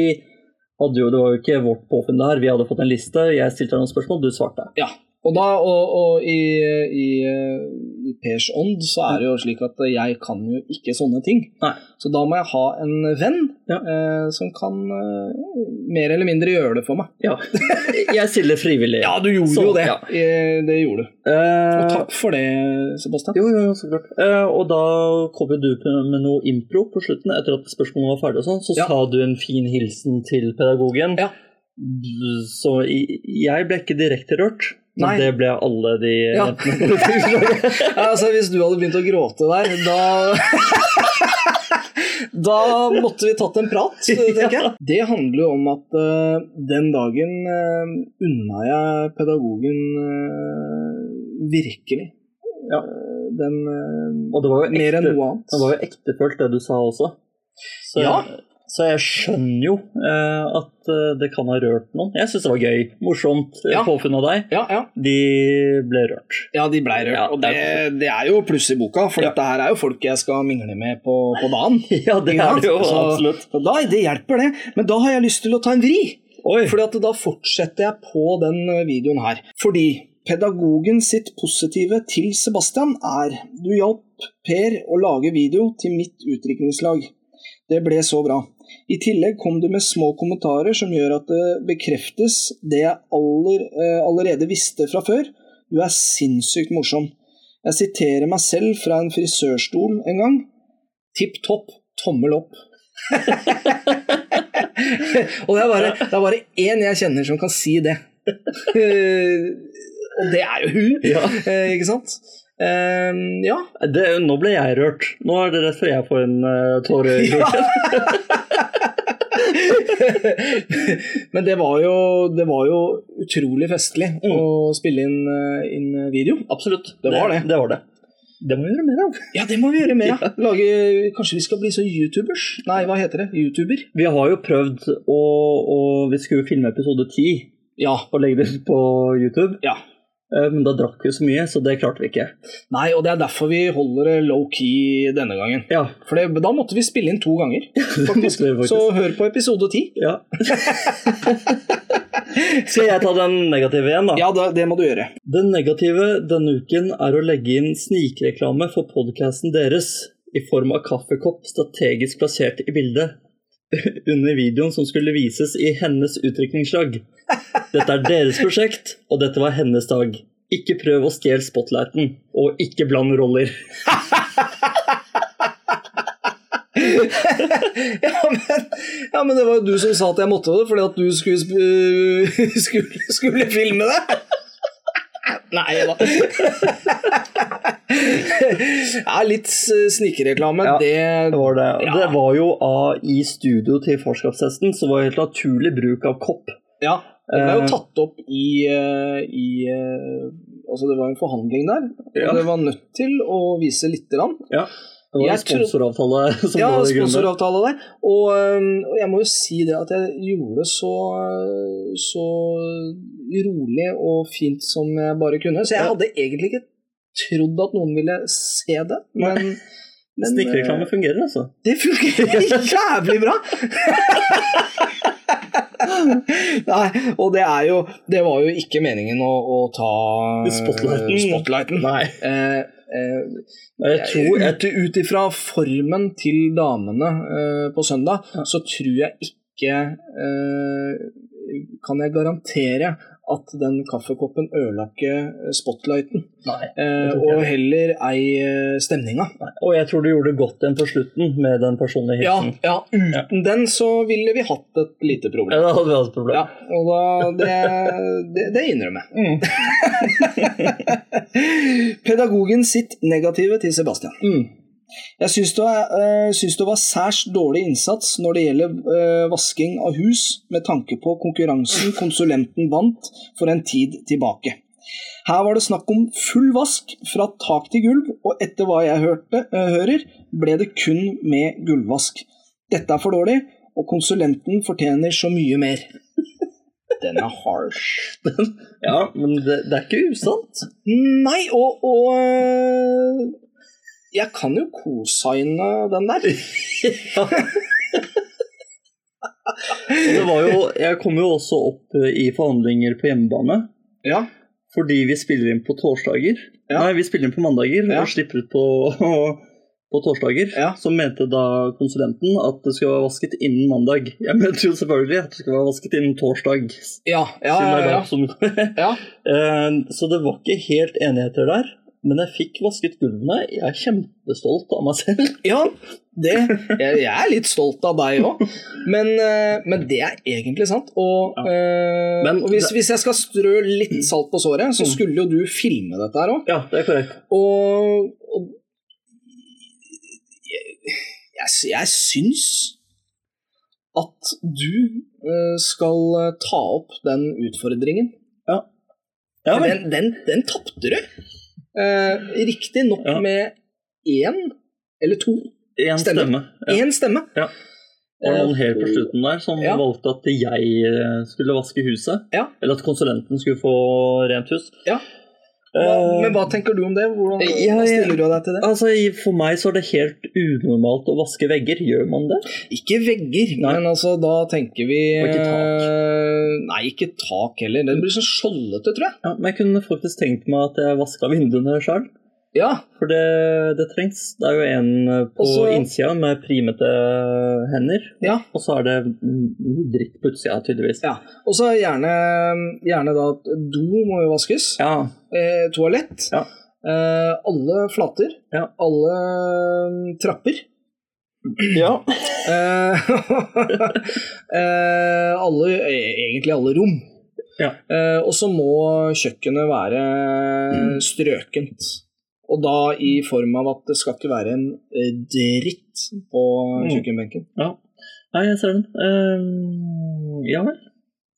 hadde jo, det var jo ikke vårt påfunn det her, vi hadde fått en liste, jeg stilte deg noen spørsmål, du svarte.
Ja. Og, da, og, og i, i, eh, i Pers ånd så er det jo slik at jeg kan jo ikke sånne ting.
Nei.
Så da må jeg ha en venn
Ja.
eh, som kan eh, mer eller mindre gjøre det for meg.
Ja. Jeg stiller frivillig.
Ja, du gjorde
Så,
jo det.
ja.
Eh, Det gjorde du. Og
Eh,
takk for det, Sebastian.
jo, jo, jo, så klart. Eh, og da kom jo du med noe impro på slutten, etter at spørsmålet var ferdig og sånn, så
Ja.
sa du en fin hilsen til pedagogen.
Ja.
Så i- jeg ble ikke direkte rørt, men
Nei.
det ble alle de
Ja.
jentene på utviklingslaget.
Ja, altså, hvis du hadde begynt å gråte der, da Da måtte vi tatt en prat, tenker jeg. Det handler jo om at eh, den dagen uh, unna jeg pedagogen eh, virkelig
Ja.
Eh, den eh,
Og det var jo
mer enn
ekte-
noe
Det var
annet.
jo ektefølt det du sa også. Så,
Ja.
så jeg skjønner jo eh, at eh, det kan ha rørt noen. Jeg syns det var gøy, morsomt eh,
Ja.
påfunn av deg.
Ja, ja.
De ble rørt.
ja, de blei rørt.
Ja,
og det, det er jo pluss i boka, for
Ja.
dette her er jo folk jeg skal mingle med på, på dagen.
Ja, det
Ikke
er det jo
sant? Så-
absolutt.
Og da, det hjelper, det. Men da har jeg lyst til å ta en vri.
Oi.
Fordi at da fortsetter jeg på den eh, videoen her. Fordi pedagogen sitt positive til Sebastian er Du hjalp Per å lage video til mitt utdrikningslag. Det ble så bra. I tillegg kom du med små kommentarer som gjør at det bekreftes det jeg aller, eh, allerede visste fra før. Du er sinnssykt morsom. Jeg siterer meg selv fra en frisørstol en gang. Tipp topp, tommel opp. Og det er, bare, det er bare én jeg kjenner som kan si det. Eh, Og det er jo hun,
Ja.
eh, ikke sant? Eh, ja.
Det, nå ble jeg rørt. Nå er det rett før jeg får en eh, tåre. i
Ja.
kroken.
Men det var, jo, det var jo utrolig festlig
Mm.
å spille inn, eh, inn video.
Absolutt.
Det var det.
Det var det. Det må vi gjøre mer av.
Ja, det må vi gjøre mer av. Lage- Kanskje vi skal bli sånn youtubers? Nei, hva heter det? Youtuber?
Vi har jo prøvd å, å Vi skulle jo filme episode ti
Ja.
og legge det ut på YouTube,
ja.
eh, men da drakk vi så mye, så det klarte vi ikke.
Nei, og det er derfor vi holder det low-key denne gangen.
Ja,
For det, da måtte vi spille inn to ganger.
det måtte vi faktisk.
Så hør på episode ti.
Ja. Skal jeg ta den negative igjen, da?
Ja, da, det må du gjøre.
Den negative denne uken er å legge inn snikreklame for podkasten deres i form av kaffekopp strategisk plassert i bildet under videoen som skulle vises i hennes utdrikningslag. Dette er deres prosjekt, og dette var hennes dag. Ikke prøv å stjele spotlighten, og ikke bland roller.
Ja men, ja, men det var jo du som sa at jeg måtte det, fordi at du skulle, sp- skulle, skulle filme det. Nei da. Ja, litt s- snikreklame,
Ja, Det
det
var ah, det.
Ja.
Det var jo av i studio til farskapstesten, så var det helt naturlig bruk av kopp. Eh,
Ja. Det ble jo tatt opp i, eh, i eh, Altså, det var en forhandling der, og
Ja.
det var nødt til å vise lite grann.
Det var
Jeg
en sponsoravtale som
Ja,
lå i grunnen. der.
sponsoravtale der. Og, øhm, og jeg må jo si det at jeg gjorde det så, så rolig og fint som jeg bare kunne. Så jeg
Ja.
hadde egentlig ikke trodd at noen ville se det, men, men
Snikreklame fungerer, altså.
eh, Det fungerer jævlig bra! Nei, og det er jo Det var jo ikke meningen å, å ta eh,
Spotlighten.
spotlighten.
Nei.
Eh, eh,
Jeg tror jeg,
ut, ut ifra formen til damene eh, på søndag,
Ja.
så tror jeg ikke eh, Kan jeg garantere at den kaffekoppen ødela ikke spotlighten.
nei.
Eh,
Det tror ikke
og
jeg.
heller ei eh, stemninga.
Og jeg tror du gjorde godt igjen på slutten med den personlige
Ja,
hilsen.
ja, uten den så ville vi hatt et lite
Ja,
problem.
da hadde vi hatt et problem.
Ja, og da, det, det, det innrømmer jeg.
Mm.
Pedagogen sitt negative til Sebastian.
Mm.
Jeg syns det, var, eh, syns det var særs dårlig innsats når det gjelder eh, vasking av hus, med tanke på konkurransen konsulenten vant for en tid tilbake. Her var det snakk om full vask fra tak til gulv, og etter hva jeg hørte, eh, hører, ble det kun med gulvvask. Dette er for dårlig, og konsulenten fortjener så mye mer. Den er harsh.
ja men det, det er ikke usant.
Nei, og, og øh, Jeg kan jo cosigne den der.
Ja. Og det var jo, jeg kom jo også opp eh, i forhandlinger på hjemmebane,
Ja.
fordi vi spiller inn på torsdager.
Ja.
Nei, vi spiller inn på mandager
Ja.
og slipper ut på, på torsdager.
Ja.
Så mente da konsulenten at det skulle være vasket innen mandag. Jeg mente jo selvfølgelig at det skulle være vasket innen torsdag.
Ja, ja,
siden det er
ja,
da som-
ja.
Eh, Så det var ikke helt enigheter der. Men jeg fikk vasket gulvene. Jeg er kjempestolt av meg selv.
ja det, jeg, jeg er litt stolt av deg òg, men, øh, men det er egentlig sant. Og,
Ja.
øh,
Men
og hvis,
det-
hvis jeg skal strø litt salt på såret, så
Mm.
skulle jo du filme dette her òg.
Ja, det er korrekt.
Og, og jeg, jeg, jeg syns at du eh, skal ta opp den utfordringen.
Ja, vel.
den den, den tapte du. Eh, Riktignok
Ja.
med én eller to.
Én
Stemme.
stemme. Ja.
Én stemme. Eh,
Ja. Og noen helt på slutten der som
Ja.
valgte at jeg eh, skulle vaske huset.
Ja.
Eller at konsulenten skulle få rent hus.
Ja. Hva,
Eh,
men hva tenker du om det? Hvordan,
Ja,
hvordan
jeg-
stiller du deg til det?
altså, i- For meg så er det helt unormalt å vaske vegger. Gjør man det?
Ikke vegger,
Nei.
men altså, da tenker vi
Og ikke tak.
eh, Nei, ikke tak heller. Det blir sånn skjoldete, tror jeg.
Ja, men jeg kunne faktisk tenkt meg at jeg vaska vinduene sjøl.
Ja,
For det, det trengs. Det er jo en eh, på
Også-
innsida med primete hender,
ja.
og så er det mm, mye dritt på utsida, tydeligvis.
Ja. Og så gjerne, gjerne da at do må jo vaskes.
Ja.
Eh, toalett.
Ja.
Eh, alle flater.
Ja.
Alle mm, trapper. Eh, eh, alle, eh, egentlig alle rom.
Ja.
Eh, og så må kjøkkenet være
Mm.
strøkent. Og da i form av at det skal ikke være en eh, dritt på
Mm.
kjøkkenbenken.
Nei, jeg ser den. Eh, ja vel.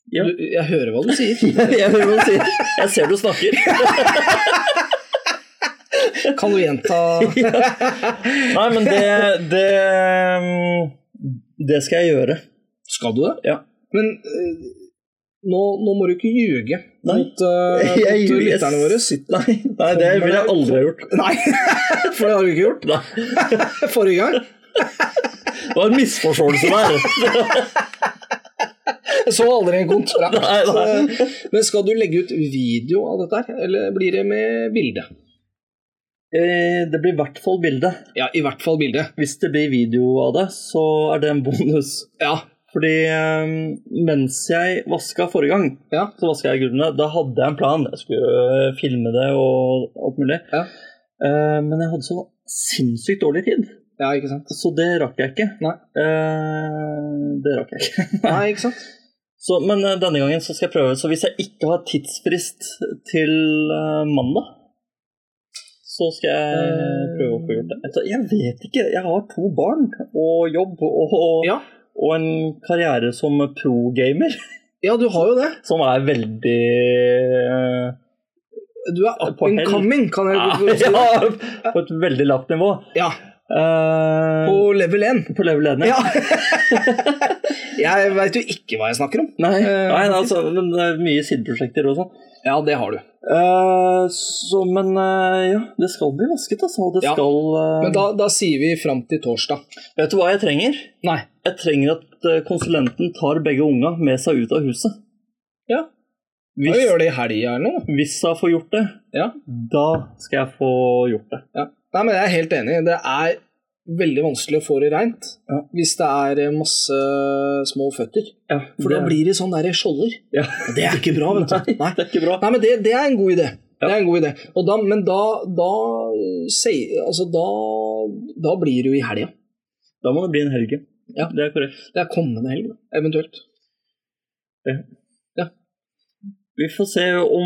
Ja.
Du, jeg hører hva du sier.
Jeg hører hva du sier. Jeg ser du snakker.
Kan du gjenta
Nei, men det Det, det skal jeg gjøre.
Skal du det?
Ja.
Men eh, nå, nå må du ikke ljuge
Nei.
mot, eh,
Jeg
mot
ljuger.
lytterne våre.
Nei, nei det ville jeg aldri ha gjort.
Nei, for det har du ikke gjort
Nei,
forrige gang.
det var en misforståelse der.
Jeg så aldri en kontrakt.
Nei, nei.
Eh, Men skal du legge ut video av dette, her, eller blir det med bilde?
Eh, Det blir i hvert fall bilde.
Ja, i hvert fall bilde.
Hvis det blir video av det, så er det en bonus.
Ja.
Fordi eh, mens jeg vaska forrige gang,
Ja.
så vaska jeg gulvene. Da hadde jeg en plan. Jeg skulle eh, filme det og alt mulig.
Ja.
Eh, Men jeg hadde så sinnssykt dårlig tid.
ja, ikke sant?
Så det rakk jeg ikke.
Nei.
Eh, det rakk jeg ikke.
Nei, ikke sant?
Så, men eh, denne gangen så skal jeg prøve. Så hvis jeg ikke har tidsfrist til eh, mandag, så skal jeg
Eh.
prøve å få gjort det. Altså, Jeg vet ikke. Jeg har to barn og jobb og, og,
Ja.
og en karriere som pro-gamer.
Ja, du har jo det.
Som er veldig eh,
Du er up
På
and
hell.
coming, kan jeg si.
ja, På et veldig lavt nivå.
Ja,
Eh,
på level 1.
på leverledende.
Ja. jeg veit jo ikke hva jeg snakker om.
Nei,
Eh,
nei, nei, altså, men det er mye sideprosjekter og sånn.
Ja, det har du.
Eh, så, men eh, ja, det skal bli vasket, altså. og Det
Ja.
skal eh,
Men da, da sier vi fram til torsdag.
Vet du hva jeg trenger?
Nei.
Jeg trenger at eh, konsulenten tar begge unga med seg ut av huset.
Ja. Vi
Hvis,
gjør det i helga eller noe.
hvis jeg får gjort det,
Ja.
da skal jeg få gjort det.
Ja. Nei, men jeg er helt enig. Det er veldig vanskelig å få det reint
Ja.
hvis det er eh, masse små føtter.
Ja,
For da
det-
blir det sånn der skjolder.
ja.
Og Det er ikke bra, vet du. Nei.
Det er ikke bra.
Nei, men det, det er en god idé.
Ja.
Det er en god idé. Og da, men da, da, sier- altså da, da blir det jo i helga.
Da må det bli en helg.
Ja.
Det er korrekt.
Det er kommende helg, da, eventuelt.
Vi får se om,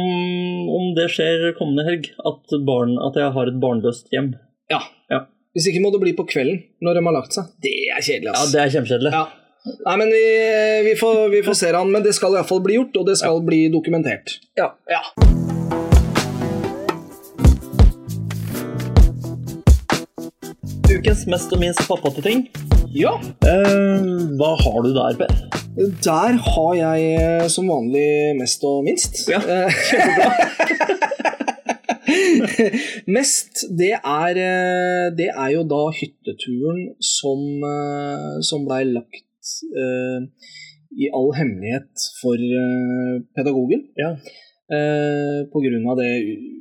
om det skjer kommende helg, at, barn, at jeg har et barnløst hjem.
Ja.
Ja.
Hvis ikke må det bli på kvelden når de har lagt seg. Det er kjedelig,
Ja,
ass.
det er kjempekjedelig.
Ja. Nei, men vi, vi, får, vi får se han. Men det skal iallfall bli gjort, og det skal bli dokumentert.
Ja.
Ja.
Ukens mest og minst pappate ting.
ja.
Eh, hva har du der, Per?
Der har jeg eh, som vanlig mest og minst. Eh,
Ja,
mest, det er, eh, det er jo da hytteturen som, eh, som blei lagt eh, i all hemmelighet for eh, pedagogen.
Ja.
Eh, på grunn av det u-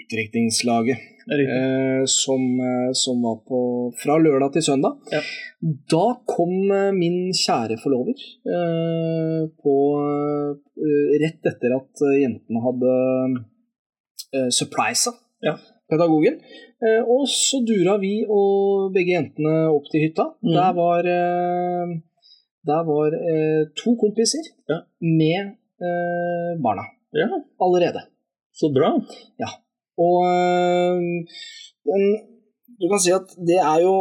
utdrikningslaget. eh, som, eh, som var på, fra lørdag til søndag.
Ja.
Da kom eh, min kjære forlover eh, på, eh, rett etter at eh, jentene hadde eh, surprisa
Ja.
pedagogen. Eh, og så dura vi og begge jentene opp til hytta.
Mhm.
Der var, eh, der var eh, to kompiser
Ja.
med eh, barna
Ja.
allerede.
Så bra.
Og øhm, den, du kan si at det er jo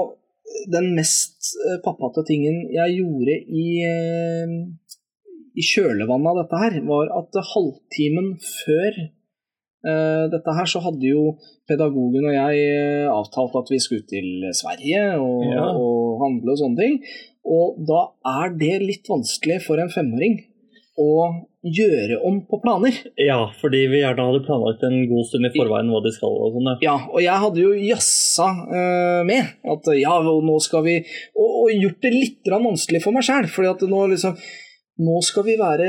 den mest øh, pappate tingen jeg gjorde i, øhm, i kjølvannet av dette her, var at halvtimen før øh, dette her, så hadde jo pedagogen og jeg øh, avtalt at vi skulle til Sverige og,
Ja.
og handle og sånne ting. Og da er det litt vanskelig for en femåring å gjøre om på planer.
Ja, fordi vi gjerne hadde planlagt en god stund i forveien hva de skal og sånn. ja.
Ja, og jeg hadde jo jassa eh, med at ja, og nå skal vi Og, og gjort det litt grann vanskelig for meg sjæl, fordi at nå liksom nå skal vi være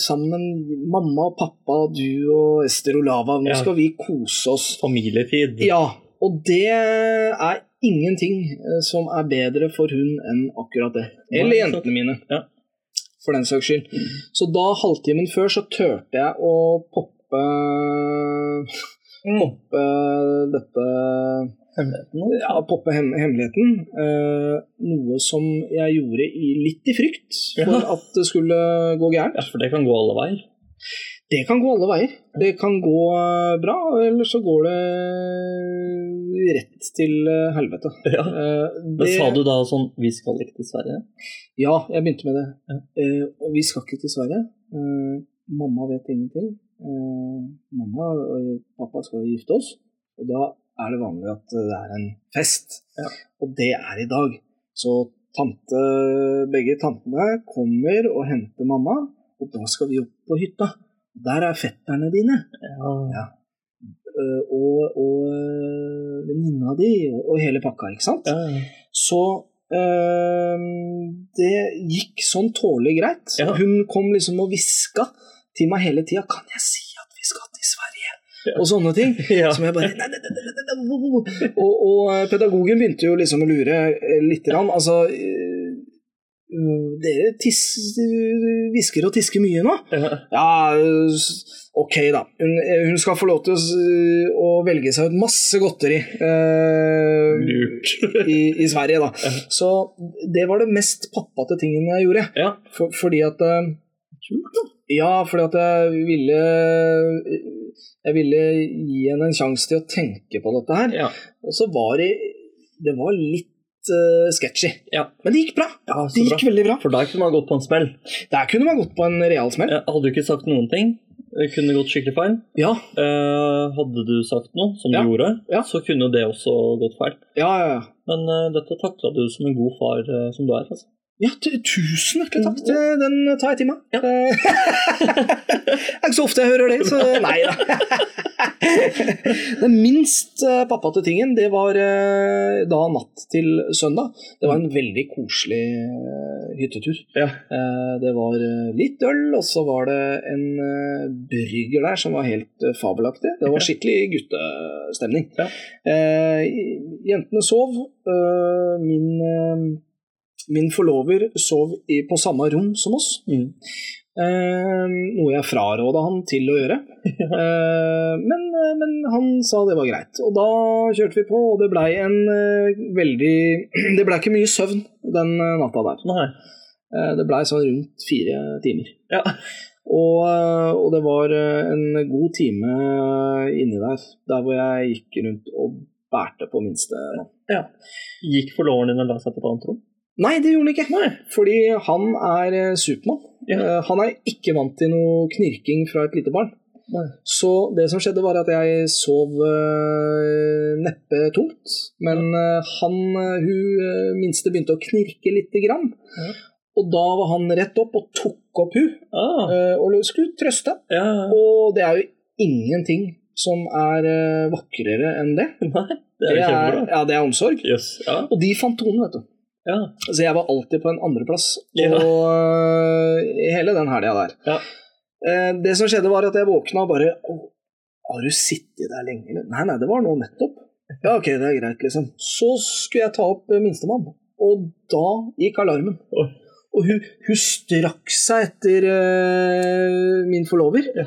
sammen, mamma og pappa, du og Ester Olava. Nå
Ja.
skal vi kose oss.
Familietid.
Ja, og det er ingenting eh, som er bedre for hun enn akkurat det. Eller
Nei, sant.
jentene mine,
Ja. Mm.
for den saks skyld. Så da, halvtimen før, så turte jeg å poppe
Mm.
Poppe Eh, dette
Hemmeligheten.
Ja, poppe hem hemmeligheten. Eh, noe som jeg gjorde i, litt i frykt for
Ja.
at det skulle gå gærent.
Ja, for det kan gå alle veier.
Det kan gå alle veier. Det kan gå eh, bra, eller så går det rett til eh, helvete.
Ja.
Eh,
Men
det-
sa du da sånn Vi skal ikke til Sverige?
Ja, jeg begynte med det.
Ja.
Eh, og vi skal ikke til Sverige. Eh, mamma vet ingenting. Eh, mamma og pappa skal jo gifte oss, og da er det vanlig at det er en fest.
Ja.
Og det er i dag. Så tante, begge tantene kommer og henter mamma, og da skal vi opp på hytta. Der er fetterne dine.
Ja.
eh, og og eh, venninna di, og, og hele pakka, ikke sant?
ja.
Så eh, det gikk sånn tålelig greit.
Ja.
Hun kom liksom og hviska til meg hele tida 'Kan jeg si at vi skal til Sverige?'
Ja.
Og sånne ting.
ja.
Som jeg bare nei, nei, nei, nei, nei, nei, wo, wo, wo». og, og eh, pedagogen begynte jo liksom å lure eh, lite grann. Altså eh, eh, Dere tiss- hvisker og tisker mye nå.
ja.
Ja, eh, s- ok da. Hun, eh, hun skal få lov til å, s- å velge seg ut masse godteri. eh,
Lurt.
i, i Sverige, da. Så det var det mest pappate tingen jeg gjorde.
ja.
For, fordi at eh,
Kult, da.
Ja, fordi at jeg ville Jeg ville gi henne en sjanse til å tenke på dette her.
Ja.
Og så var det Det var litt eh, sketchy.
Ja.
Men det gikk bra.
Ja, så
Det
bra.
gikk veldig bra.
For der kunne man gått på en smell.
Der kunne man gått på en real smell.
Jeg hadde du ikke sagt noen ting, det kunne gått skikkelig feil.
Ja.
Eh, hadde du sagt noe, som
Ja.
du gjorde,
Ja.
så kunne det også gått feil.
Ja, ja, ja.
Men eh, dette takla du som en god far eh, som du er. Altså.
Ja, tu- tusen hjertelig takk.
Mm.
Det- Den tar jeg til meg.
Ja.
Eh, det er ikke så ofte jeg hører det, så nei da. Den minst eh, pappa til tingen, det var eh, da natt til søndag. Det var en veldig koselig eh, hyttetur.
Ja.
Eh, Det var eh, litt øl, og så var det en eh, burger der som var helt eh, fabelaktig. Det var skikkelig guttestemning.
Ja.
Eh, Jentene sov. Eh, Min, eh, min forlover sov i, på samme rom som oss.
Mm.
Eh, noe jeg fraråda han til å gjøre. Eh, men, eh, men han sa det var greit. Og da kjørte vi på, og det blei en eh, veldig Det blei ikke mye søvn den eh, natta der.
Nei.
Eh, det blei sånn rundt fire timer.
Ja.
Og, eh, og det var eh, en god time eh, inni der, der hvor jeg gikk rundt og bærte på minste mann.
Gikk forloveren din og la seg på et annet rom?
Nei, det gjorde han ikke.
Nei.
Fordi han er eh, Supermann.
Ja.
Eh, Han er ikke vant til noe knirking fra et lite barn.
Nei.
Så det som skjedde, var at jeg sov eh, neppe tungt. Men eh, han, eh, hun eh, minste begynte å knirke lite grann.
Ja.
Og da var han rett opp og tok opp hun
Ah,
eh, og skulle trøste.
ja.
Og det er jo ingenting som er eh, vakrere enn det.
Nei, det er jo kjempebra.
ja, det er omsorg.
Jøss. Ja.
Og de fant tonen, vet du.
Ja.
Så jeg var alltid på en andreplass og
Ja.
øh, hele den helga der.
Ja.
Eh, Det som skjedde, var at jeg våkna og bare «Å, Har du sittet der lenge, eller? Nei, nei, det var nå nettopp. Ja, ok, det er greit, liksom. Så skulle jeg ta opp eh, minstemann, og da gikk alarmen.
Oi.
Og hun, hun strakk seg etter eh, min forlover.
Ja.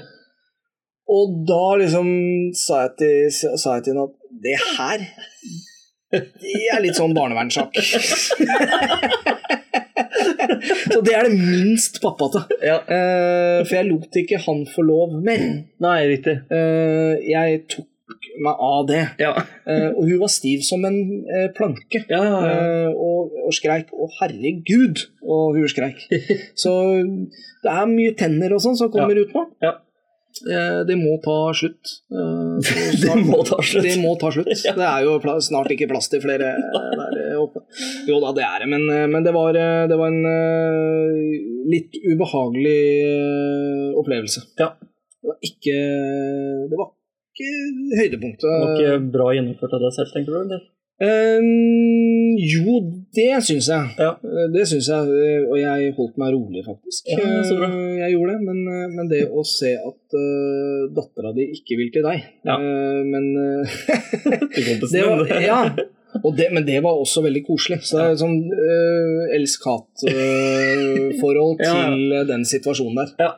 Og da liksom sa jeg til, sa jeg til henne at det her det er litt sånn barnevernssak. Så det er det minst pappate.
ja.
Eh, for jeg lot ikke han få lov mer.
Nei, riktig.
Eh, jeg tok meg av det.
Ja.
Eh, og hun var stiv som en eh, planke.
Ja, ja, ja.
Eh, og, og skreik 'Å, herregud!' og hun skreik. Så det er mye tenner og sånn som kommer ut nå.
Ja.
Eh, det må ta slutt. Eh, så
Det
snart-
må ta slutt.
Det må ta slutt. Det er jo pla snart ikke plass til flere eh, der eh, oppe. Jo da, det er det, men, eh, men det, var, eh, det var en eh, litt ubehagelig eh, opplevelse.
Ja.
Det var ikke Det var ikke høydepunktet.
Det var ikke eh, bra gjennomført av deg selv, tenker du? Eller?
Ehm, jo, det syns jeg. Eh,
Ja.
Det syns jeg, og jeg holdt meg rolig, faktisk.
Ja, så bra.
Eh, Jeg gjorde det, men, eh, men det å se at uh, dattera di ikke vil til deg
Ja.
eh, Men eh,
Til kompisen
det
din.
var, Ja. Og det, men det var også veldig koselig. Så det er sånn eh, elsk-hat-forhold
Ja, ja.
til eh, den situasjonen der.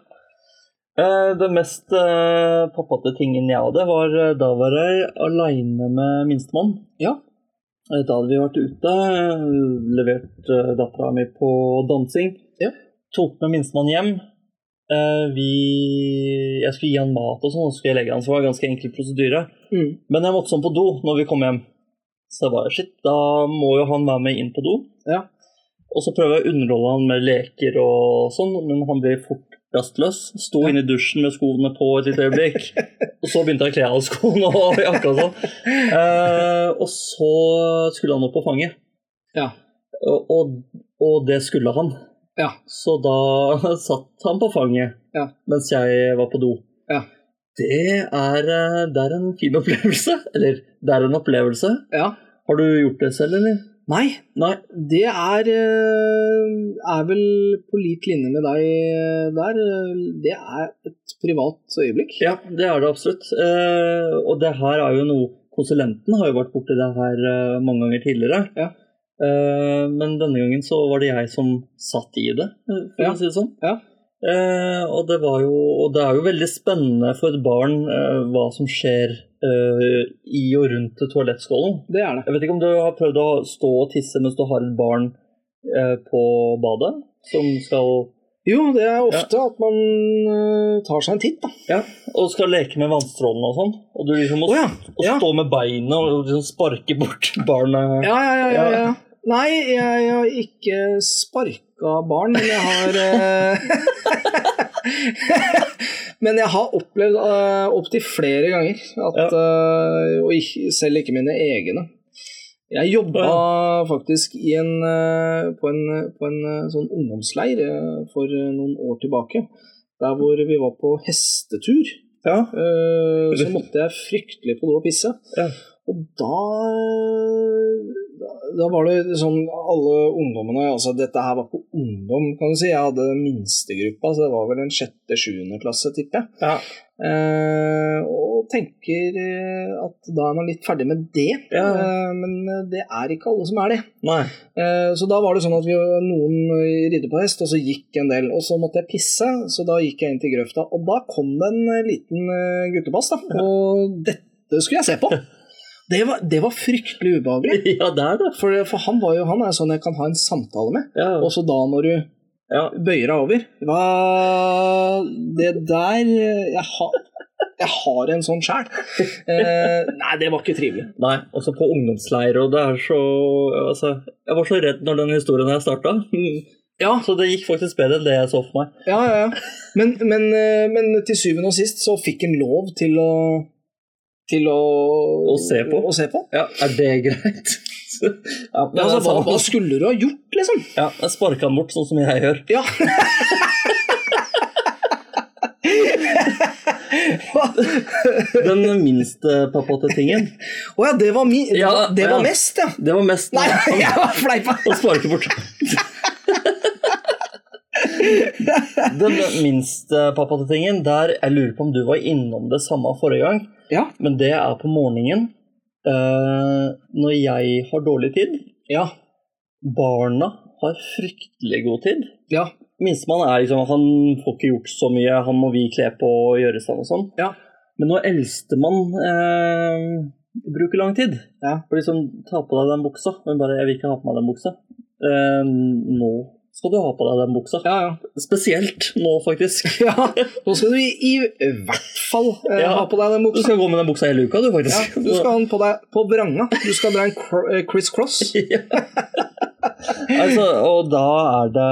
Eh, Det mest eh, pappate tingen jeg hadde, var eh, da var jeg aleine med minstemann.
Ja.
Eh, Da hadde vi vært ute, eh, levert eh, dattera mi på dansing.
Ja.
Tok med minstemann hjem. Eh, Vi, jeg skulle gi han mat og sånn, og så skulle jeg legge han, så det var en ganske enkel prosedyre.
Mm.
Men jeg måtte sånn på do når vi kom hjem. Så jeg bare shit, da må jo han være med inn på do.
Ja.
Og så prøver jeg å underholde han med leker og sånn, men han blir fort rastløs. Sto
Ja.
inne i dusjen med skoene på et lite øyeblikk. og så begynte jeg å kle av skoene og jakka og sånn. Eh, og så skulle han opp på fanget.
Ja.
Og, og, og det skulle han.
Ja.
Så da satt han på fanget
Ja.
mens jeg var på do.
Ja.
Det, er, eh, det er en fin opplevelse. Eller, det er en opplevelse.
ja.
Har du gjort det selv, eller?
Nei,
Nei.
Det er, eh, er vel på lik linje med deg eh, der. eh, Det er et privat øyeblikk.
Ja, det er det absolutt. Eh, og det her er jo noe Konsulenten har jo vært borti det her eh, mange ganger tidligere.
Ja.
Eh, men denne gangen så var det jeg som satt i det, eh, for
Ja.
å si det sånn.
Ja.
Eh, og, det var jo, og det er jo veldig spennende for et barn eh, hva som skjer eh, i og rundt toalettskålen.
Det er det.
Jeg vet ikke om du har prøvd å stå og tisse mens du har et barn eh, på badet? Som skal,
Jo, det er ofte at man eh, tar seg en titt, da.
og skal leke med vannstrålene og sånn. Og du liksom må
ja.
Å
Ja.
stå med beina og liksom sparke bort barnet.
Ja, ja, ja, ja, ja. Nei, jeg, har ikke sparka barn, men jeg har eh, Men jeg har opplevd uh, opptil flere ganger at eh, Og ikke, selv ikke mine egne. Jeg jobba faktisk i en, eh, på en, på en eh, sånn ungdomsleir eh, for eh, noen år tilbake. Der hvor vi var på hestetur.
Ja.
Eh, så måtte jeg fryktelig på do og pisse.
Ja.
Og da da var det liksom alle ungdommene altså Dette her var ikke ungdom, kan du si. Jeg hadde minstegruppa, så det var vel en sjette-sjuende klasse, tipper jeg.
Ja.
Eh, og tenker eh, at da er man litt ferdig med det.
Ja.
Eh, men det er ikke alle som er det.
Nei.
Eh, Så da var det sånn at vi, noen eh, ridde på hest, og så gikk en del. Og så måtte jeg pisse, så da gikk jeg inn til grøfta. Og da kom det en eh, liten eh, guttebass, da. Og dette skulle jeg se på. Det var, det var fryktelig ubehagelig.
Ja, der, da.
For, for han, var jo, han er jo sånn jeg kan ha en samtale med.
Ja.
Også da når du
ja.
bøyer deg over. Hva Det der eh, Jeg har, jeg har en sånn sjæl. Eh, nei, det var ikke trivelig.
Nei, også på ungdomsleir, og det er så Altså, jeg var så redd når den historien her starta.
Ja,
Så det gikk faktisk bedre enn det jeg så for meg.
Ja, ja, ja. Men, men, eh, men til syvende og sist så fikk han lov til å Til å,
Å se på.
Å se på.
Ja, Er det greit? Ja, men
Ja, altså, hva, hva
altså,
skulle du ha gjort, liksom?
ja, jeg sparka den bort, sånn som jeg gjør.
Ja. Hva-
Den minste pappate-tingen,
Å ja, det var, mi, det
Ja,
var, det var
ja.
mest, ja.
det var mest
Nei, jeg var fleipa.
å sparke bort. Den minste pappate-tingen, der jeg lurer på om du var innom det samme forrige gang,
Ja.
men det er på morgenen eh, når jeg har dårlig tid.
Ja.
Barna har fryktelig god tid.
Ja.
Minstemann er liksom, han får ikke gjort så mye, han må vi kle på og gjøre sånn og sånn.
Ja.
Men når eldstemann eh, bruker lang tid,
Ja.
for liksom, ta på deg den buksa, men bare, jeg vil ikke ha på meg den buksa. Eh, nå skal du ha på deg den buksa.
Ja, ja.
Spesielt nå, faktisk.
ja. Nå skal du i, i hvert fall eh,
Ja.
ha på deg den
Du
buksa.
skal gå med den buksa hele uka, du,
Ja,
faktisk.
du skal ha den på deg på vranga. Du skal dra en cro- eh, criss cross.
altså, og da er det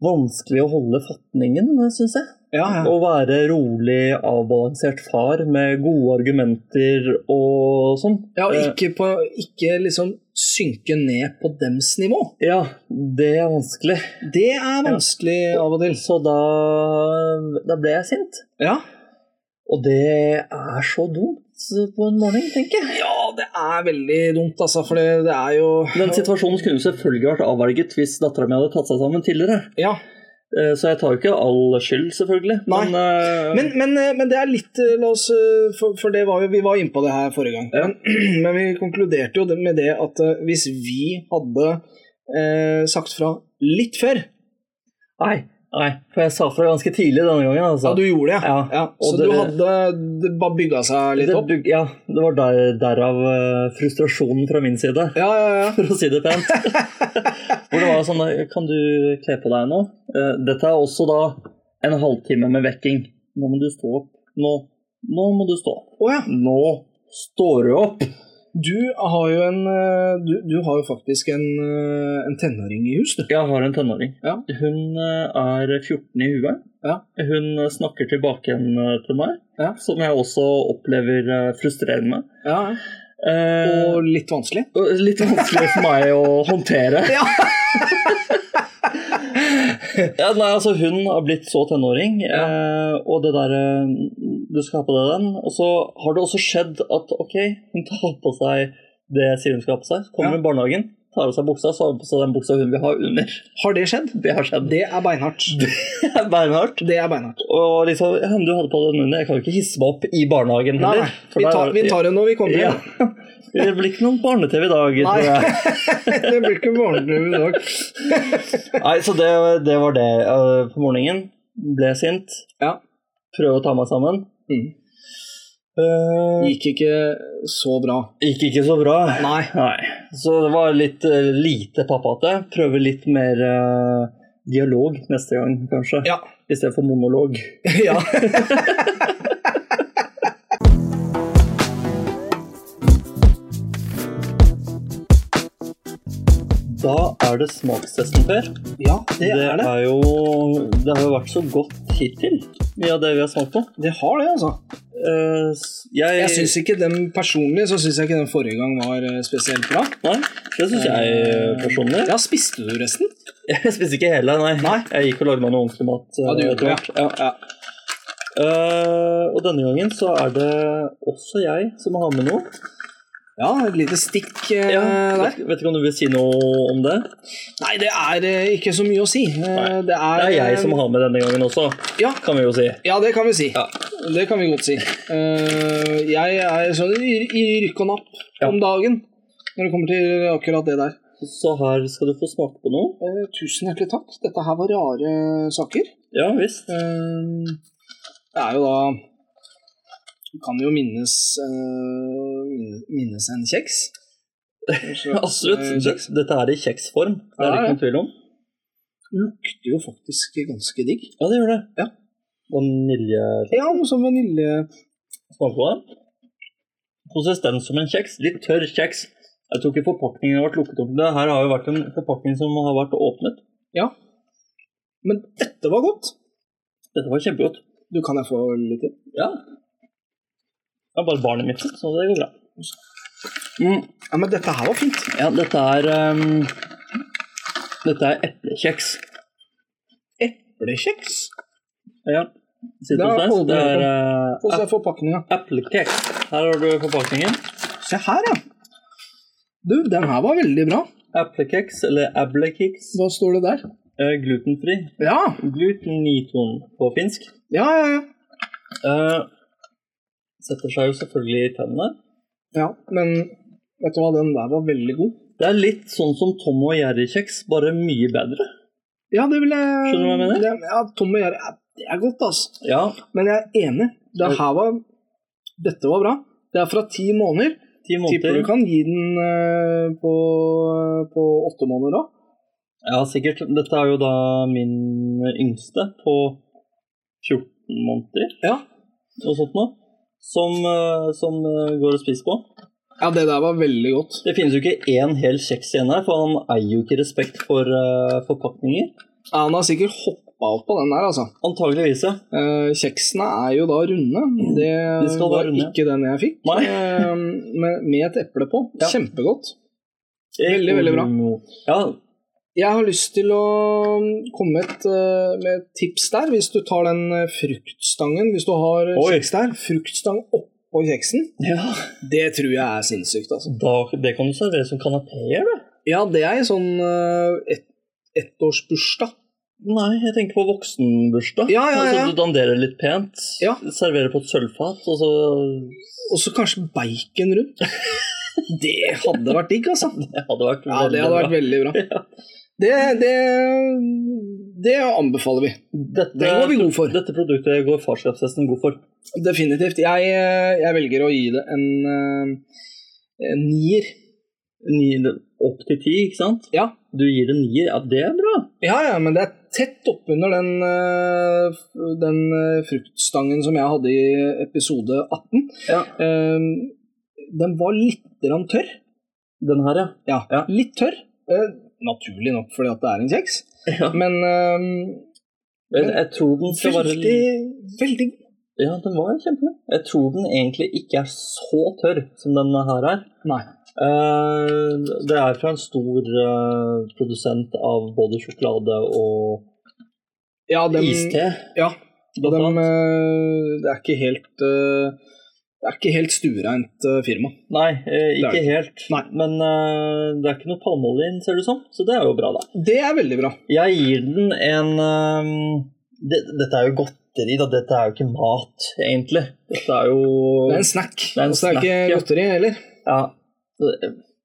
vanskelig å holde fatningen, syns jeg.
Ja, ja.
Å være rolig, avbalansert far med gode argumenter og sånn.
Ja, og
Eh,
ikke, på, ikke liksom synke ned på dems nivå.
ja, det er vanskelig.
Det er vanskelig av og til.
Så da, da ble jeg sint.
Ja.
Og det er så dumt på en morgen, tenker jeg.
ja, det er veldig dumt, altså, for det, det er jo
Den situasjonen kunne selvfølgelig vært avverget hvis dattera mi hadde tatt seg sammen tidligere.
Ja.
Eh, Så jeg tar jo ikke all skyld, selvfølgelig.
Nei.
Men, eh,
Men, men, eh, men det er litt eh, La oss eh, For, for det var jo, vi var inne på det her forrige gang.
Ja.
Men, men vi konkluderte jo det- med det at eh, hvis vi hadde eh, sagt fra litt før
nei, nei, for jeg sa fra ganske tidlig denne gangen.
Ja,
Altså.
du gjorde det,
Ja.
så
Og det-
du hadde Det bare bygga seg litt
det,
opp?
bygg- ja, det var der, derav eh, frustrasjonen fra min side,
Ja, ja, ja.
for å si det pent. Hvor det var sånn Kan du kle på deg nå? Eh, Dette er også da en halvtime med vekking. Nå må du stå opp. Nå. Nå må du stå opp.
Å ja.
Nå står du opp!
Du har jo en eh, Du, du har jo faktisk en, eh, en tenåring i hus, du.
Jeg har en tenåring.
Ja.
Hun eh, er 14 i huet.
Ja.
Hun eh, snakker tilbake igjen eh, til meg,
Ja.
som jeg også opplever eh, frustrerende.
Ja.
Eh,
Og litt vanskelig.
og litt vanskelig for meg å håndtere.
Ja.
Ja, nei, altså Hun har blitt så tenåring, eh, og det derre Du skal ha på deg den. Og så har det også skjedd at ok, hun tar på seg det jeg sier hun skal ha på seg. Så Kommer
Ja.
hun i barnehagen, tar av seg buksa, så har hun på seg den buksa hun vil ha under.
Har det skjedd?
Det har skjedd.
Det er beinhardt.
Det er beinhardt.
Det er beinhardt.
Og liksom, ja, men du hadde på deg den under, jeg kan jo ikke hisse meg opp i barnehagen
Nei,
heller.
nei. Vi, tar, vi tar det når vi kommer
ja.
hjem.
Det blir ikke noen barne-TV i dag,
Nei.
tror jeg.
Det blir ikke barnedrevet i dag.
Nei, så det, det var det. Eh, På morgenen ble jeg sint.
Ja.
Prøve å ta meg sammen.
Mm.
Eh,
Gikk ikke så bra.
gikk ikke så bra.
Nei.
Nei. Så det var litt eh, lite pappate. Prøve litt mer eh, dialog neste gang, kanskje.
Ja.
I stedet for monolog.
ja.
Da er det smakstesten, Per.
Ja, det, er det.
jo Det har jo vært så godt hittil, mye av det vi har smakt på.
Det har det, altså.
Eh, s- jeg
Jeg syns ikke den personlig så synes jeg ikke den forrige gang var eh, spesielt bra.
Nei, det syns jeg eh, personlig.
Ja, spiste du resten?
Jeg spiste ikke hele, nei.
Nei.
Jeg gikk og lagde meg noe ordentlig mat. eh,
Ja, du gjorde
etter
det,
hvert. Ja. Eh, og denne gangen så er det også jeg som har med noe.
Ja, et lite stikk eh, der.
vet, vet ikke om du vil si noe om det?
Nei, det er eh, ikke så mye å si. Eh,
Nei.
Det er,
Det er jeg som
eh,
har med denne gangen også,
Ja,
kan vi jo si.
ja det kan vi si.
Ja.
Det kan vi godt si. Eh, jeg er sånn i, i rykk og napp
Ja.
om dagen når det kommer til akkurat det der.
Så her skal du få smake på noe.
Eh, tusen hjertelig takk. Dette her var rare saker.
Ja visst.
Eh, det er jo da Du kan jo minnes eh, min- minnes en kjeks. En slags,
Absolutt.
eh,
Det,
Kjeks.
dette er i kjeksform. Det er
Ja,
det ikke
ja.
noen tvil om.
Lukter jo faktisk ganske digg.
Ja, det gjør det.
Ja.
Vanilje
Ja, noe sånn vanilje
smak på det. Konsistens som en kjeks. Litt tørr kjeks. Jeg tror ikke forpakningen har vært lukket opp. Det her har jo vært en forpakning som har vært åpnet.
Ja. Men dette var godt.
Dette var kjempegodt.
Du, kan jeg få litt til?
Ja. Det er bare barnet mitt, så det går bra. Mm.
Ja, men dette her var fint.
Ja, dette er ehm, Dette er eplekjeks.
Eplekjeks.
Ja. Sitt
Da
hos deg. så
holder
Det
jeg
er
Få
uh,
se forpakninga.
eplekjeks. Her har du forpakningen.
Se her, ja. Du, den her var veldig bra.
Eplekjeks, eller ablekjeks.
Hva står det der?
Eh, glutenfri.
Ja,
Gluteniton på finsk.
ja, ja. ja.
Eh, setter seg jo selvfølgelig i tennene.
ja men vet du hva, den der var veldig god.
Det er litt sånn som Tom og Jerry-kjeks, bare mye bedre.
Ja, det vil jeg
Skjønner du hva jeg mener?
Det, ja, Tom og Jerry, ja, det er godt, altså.
Ja,
Men jeg er enig. Det her var Dette var bra. Det er fra ti måneder.
ti
Tipper du
måneder.
kan gi den eh, på, på åtte måneder da.
Ja, sikkert. Dette er jo da min yngste på 14 måneder,
Ja.
noe sånt nå, som, eh, som eh, går og spiser på.
Ja, det der var veldig godt.
Det finnes jo ikke én hel kjeks igjen her, for han eier jo ikke respekt for eh, forpakninger.
Ja, han har sikkert hoppa opp på den der, altså.
Antageligvis, ja.
Eh, kjeksene er jo da runde. Det
De skal være
var
runde.
ikke den jeg fikk.
Nei.
Eh, med, med et eple på.
Ja.
Kjempegodt. Veldig, veldig bra.
Mm, Ja,
Jeg har lyst til å komme med et, eh, med et tips der, hvis du tar den eh, fruktstangen. Hvis du har eh,
Oi.
kjeks der, fruktstang oppå kjeksen.
ja.
Det tror jeg er sinnssykt, altså.
Da, det kan du servere som kanapeer, da.
Ja, det er i sånn eh, et, ettårsbursdag.
Nei, jeg tenker på voksenbursdag.
Ja, ja, ja.
Altså, du danderer litt pent,
Ja.
serverer på et sølvfat, og så
Og så kanskje bacon rundt. Det hadde vært digg, altså.
Det hadde vært
Ja, det hadde vært veldig bra. Det, det, det anbefaler vi.
Dette,
Den går vi god for.
Dette produktet går farskapsfesten god for.
Definitivt. Jeg, jeg velger å gi det en, eh, en nier.
Ni, opp til ti, ikke sant?
Ja.
Du gir det nier, ja det er bra.
ja, ja, men det er tett oppunder den, eh, f- den eh, fruktstangen som jeg hadde i episode 18.
Ja.
Eh, Den var litt grann tørr.
Den her, ja.
Ja,
Ja.
litt tørr. Eh, Naturlig nok fordi at det er en kjeks,
ja.
men eh,
Jeg, jeg tror den skal være
veldig, veldig god.
Ja, den var kjempegod. Jeg tror den egentlig ikke er så tørr som denne her er.
Nei.
Eh, det er fra en stor eh, produsent av både sjokolade og
Ja, den,
iste.
Ja,
blant
Dem,
annet.
eh, det er ikke helt eh, Det er ikke helt stuereint eh, firma.
Nei,
Det er
eh, ikke
det
helt.
Nei.
Men eh, det er ikke noe palmeolje i den, ser det ut som. Så det er jo bra, da.
Det er veldig bra.
Jeg gir den en ehm, det, Dette er jo godteri, da. Dette er jo ikke mat, egentlig. Dette er jo
Det er en snack.
er en
Altså, det er
snack, ja.
ikke godteri heller.
Ja.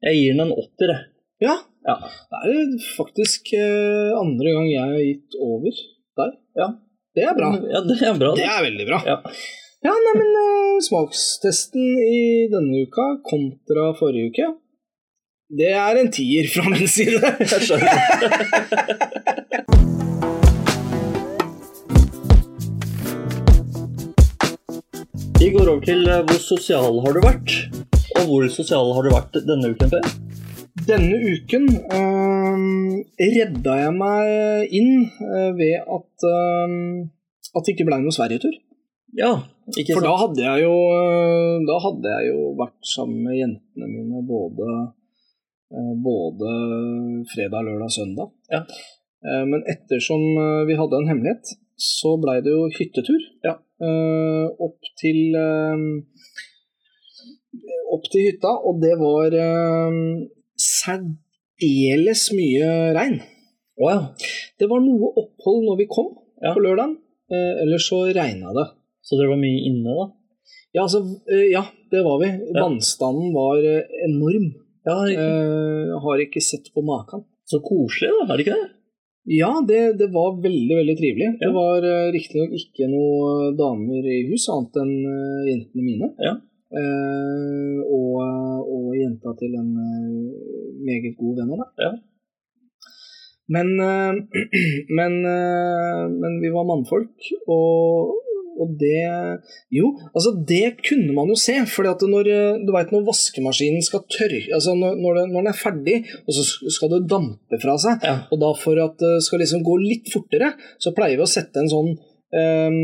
Jeg gir den en åtter, jeg.
Ja,
Ja.
det er jo faktisk eh, andre gang jeg har gitt over der.
Ja.
Det er bra.
Ja, det er bra.
Det
Det.
er veldig bra.
Ja.
Ja, nei, men eh, smakstesten i denne uka kontra forrige uke, det er en tier fra min side.
Jeg skjønner. Vi går over til eh, hvor sosial har du vært? Og hvor sosial har du vært denne uken før?
Denne uken eh, redda jeg meg inn eh, ved at, eh, at det ikke ble noen Sverigetur.
Ja, ikke
For
sant?
da hadde, jeg jo, eh, da hadde jeg jo vært sammen med jentene mine både, eh, både fredag, lørdag, søndag.
Ja.
Eh, Men ettersom eh, vi hadde en hemmelighet, så blei det jo hyttetur. Eh, opp til eh, Opp til hytta, og det var eh, særdeles mye regn.
Å ja.
Det var noe opphold når vi kom
Ja.
på lørdagen, eh, ellers så regna det.
Så dere var mye inne, da?
Ja, altså, eh, ja, det var vi. Vannstanden var eh, enorm.
Ja, ikke-
Eh, har ikke sett på maken.
Så koselig, da. Er det ikke det?
Ja, det, det var veldig, veldig trivelig.
Ja.
Det var eh, riktignok ikke noe damer i hus, annet enn eh, jentene mine.
Ja.
Eh, og, og jenta til en eh, meget god venn av meg.
Ja.
Men, eh, men, eh, men vi var mannfolk, og, og det Jo, altså det kunne man jo se. fordi at når, eh, du vet, når vaskemaskinen skal tørke altså når, når, det, når den er ferdig, og så skal det dampe fra seg,
Ja.
og da for at det skal liksom gå litt fortere, så pleier vi å sette en sånn eh,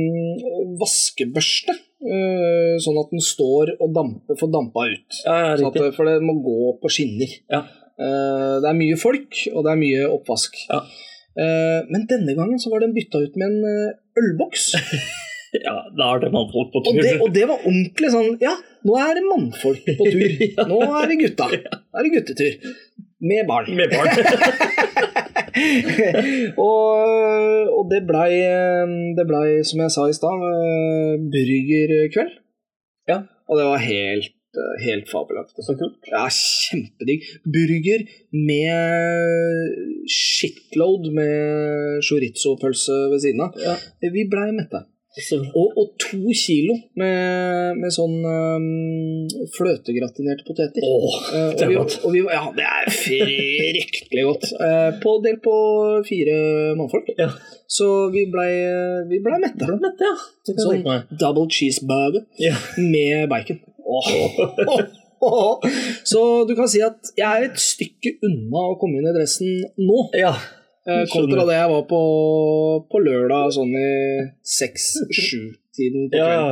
vaskebørste. eh, sånn at den står og damper, får dampa ut.
Ja, ja,
Sånn at,
riktig.
for det må gå på skinner.
Ja.
Eh, det er mye folk, og det er mye oppvask.
Ja.
Eh, men denne gangen så var den bytta ut med en eh, ølboks.
ja, da er det mannfolk på
Og
tur.
det, og det var ordentlig sånn Ja, nå er det mannfolk på tur.
Ja.
Nå er det gutta. Nå er det guttetur. Med barn.
Med barn.
og, og det blei, det blei, som jeg sa i stad, eh, burgerkveld.
Ja.
Og det var helt, eh, helt fabelaktig.
Så kult.
Ja, kjempedigg. Burger med shitload med chorizo-pølse ved siden av.
Ja.
Vi blei mette.
Så bra.
Og, og to kilo med, med sånn eh, fløtegratinerte poteter.
Åh,
Eh, og
det er
vi,
godt.
og vi, ja, det er fryktelig godt. Eh, på, delt på fire mannfolk.
Ja.
Så vi blei vi ble mette.
Ble mette, ja. Det kan jeg
Sånn
tenke meg.
double cheeseburger
Ja.
med bacon. Åh. Så du kan si at jeg er et stykke unna å komme inn i dressen nå,
ja.
eh, kontra
Skjønner.
det jeg var på, på lørdag sånn i seks-sju-tiden. på
ja,
kvelden.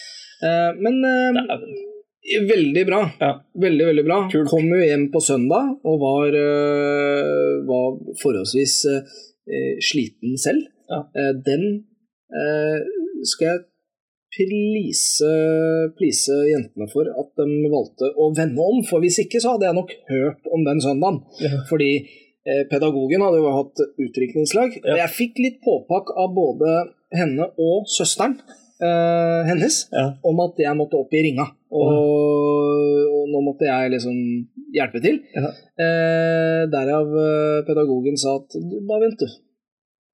ja.
Eh, Men eh,
Det er-
Veldig bra.
Ja.
Veldig, veldig bra.
Kult.
Kom jo hjem på søndag og var, eh, var forholdsvis eh, sliten selv.
Ja.
Eh, den eh, skal jeg please, please jentene for at de valgte å vende om, for hvis ikke så hadde jeg nok hørt om den søndagen.
Ja.
Fordi eh, pedagogen hadde jo hatt utdrikningslag.
Ja.
og Jeg fikk litt påpakk av både henne og søsteren eh, hennes
Ja.
om at jeg måtte opp i ringa. Og, og nå måtte jeg liksom hjelpe til.
Ja.
Eh, derav eh, pedagogen sa at du, bare vent, du.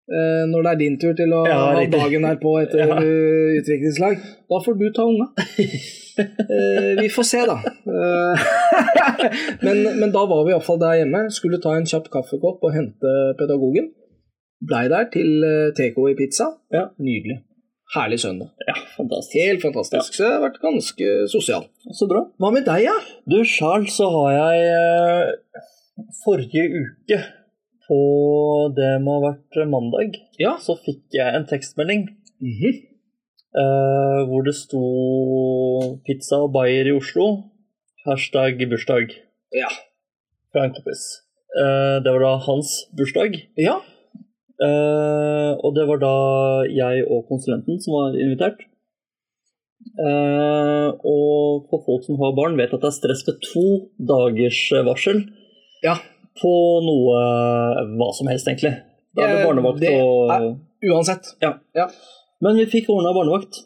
Eh, når det er din tur til å
Ja,
ha
riktig.
dagen derpå etter
Ja.
eh, utviklingslag, da får du ta unga. Eh, vi får se, da. Eh, men, men da var vi iallfall der hjemme. Skulle ta en kjapp kaffekopp og hente pedagogen. Blei der til eh, takeaway-pizza.
Ja.
Nydelig. Herlig søndag.
ja, fantastisk.
Helt fantastisk. Så jeg har vært ganske sosial.
Så bra.
Eh, Hva med deg, ja?
Du, Charles, så har jeg eh, forrige uke, på det må ha vært mandag,
Ja.
så fikk jeg en tekstmelding
Mhm.
eh, hvor det sto 'pizza og bayer i Oslo', hashtag bursdag,
Ja.
fra en kompis. Eh, det var da hans bursdag,
ja.
eh, og det var da jeg og konsulenten som var invitert. Eh, og for folk som har barn, vet at det er stress med to dagers eh, varsel.
Ja.
på noe eh, hva som helst, egentlig. Da er det
Eh,
barnevakt
det
og
Uansett.
Men vi fikk ordna barnevakt.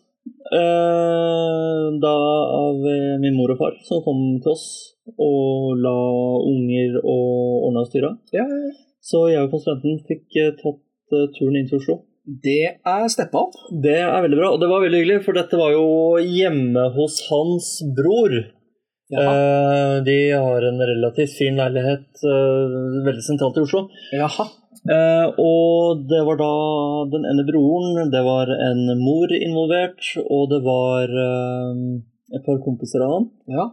Eh, da av eh, min mor og far, som kom til oss og la unger og ordna og styra.
Ja.
Så jeg og konsulenten fikk eh, tatt eh, turen inn til Oslo.
Det er steppa opp.
Det er veldig bra, og det var veldig hyggelig, for dette var jo hjemme hos hans bror.
Jaha.
Eh, de har en relativt fin leilighet eh, veldig sentralt i Oslo.
Jaha.
Eh, og det var da den ene broren, det var en mor involvert, og det var eh, et par kompiser av han
Ja.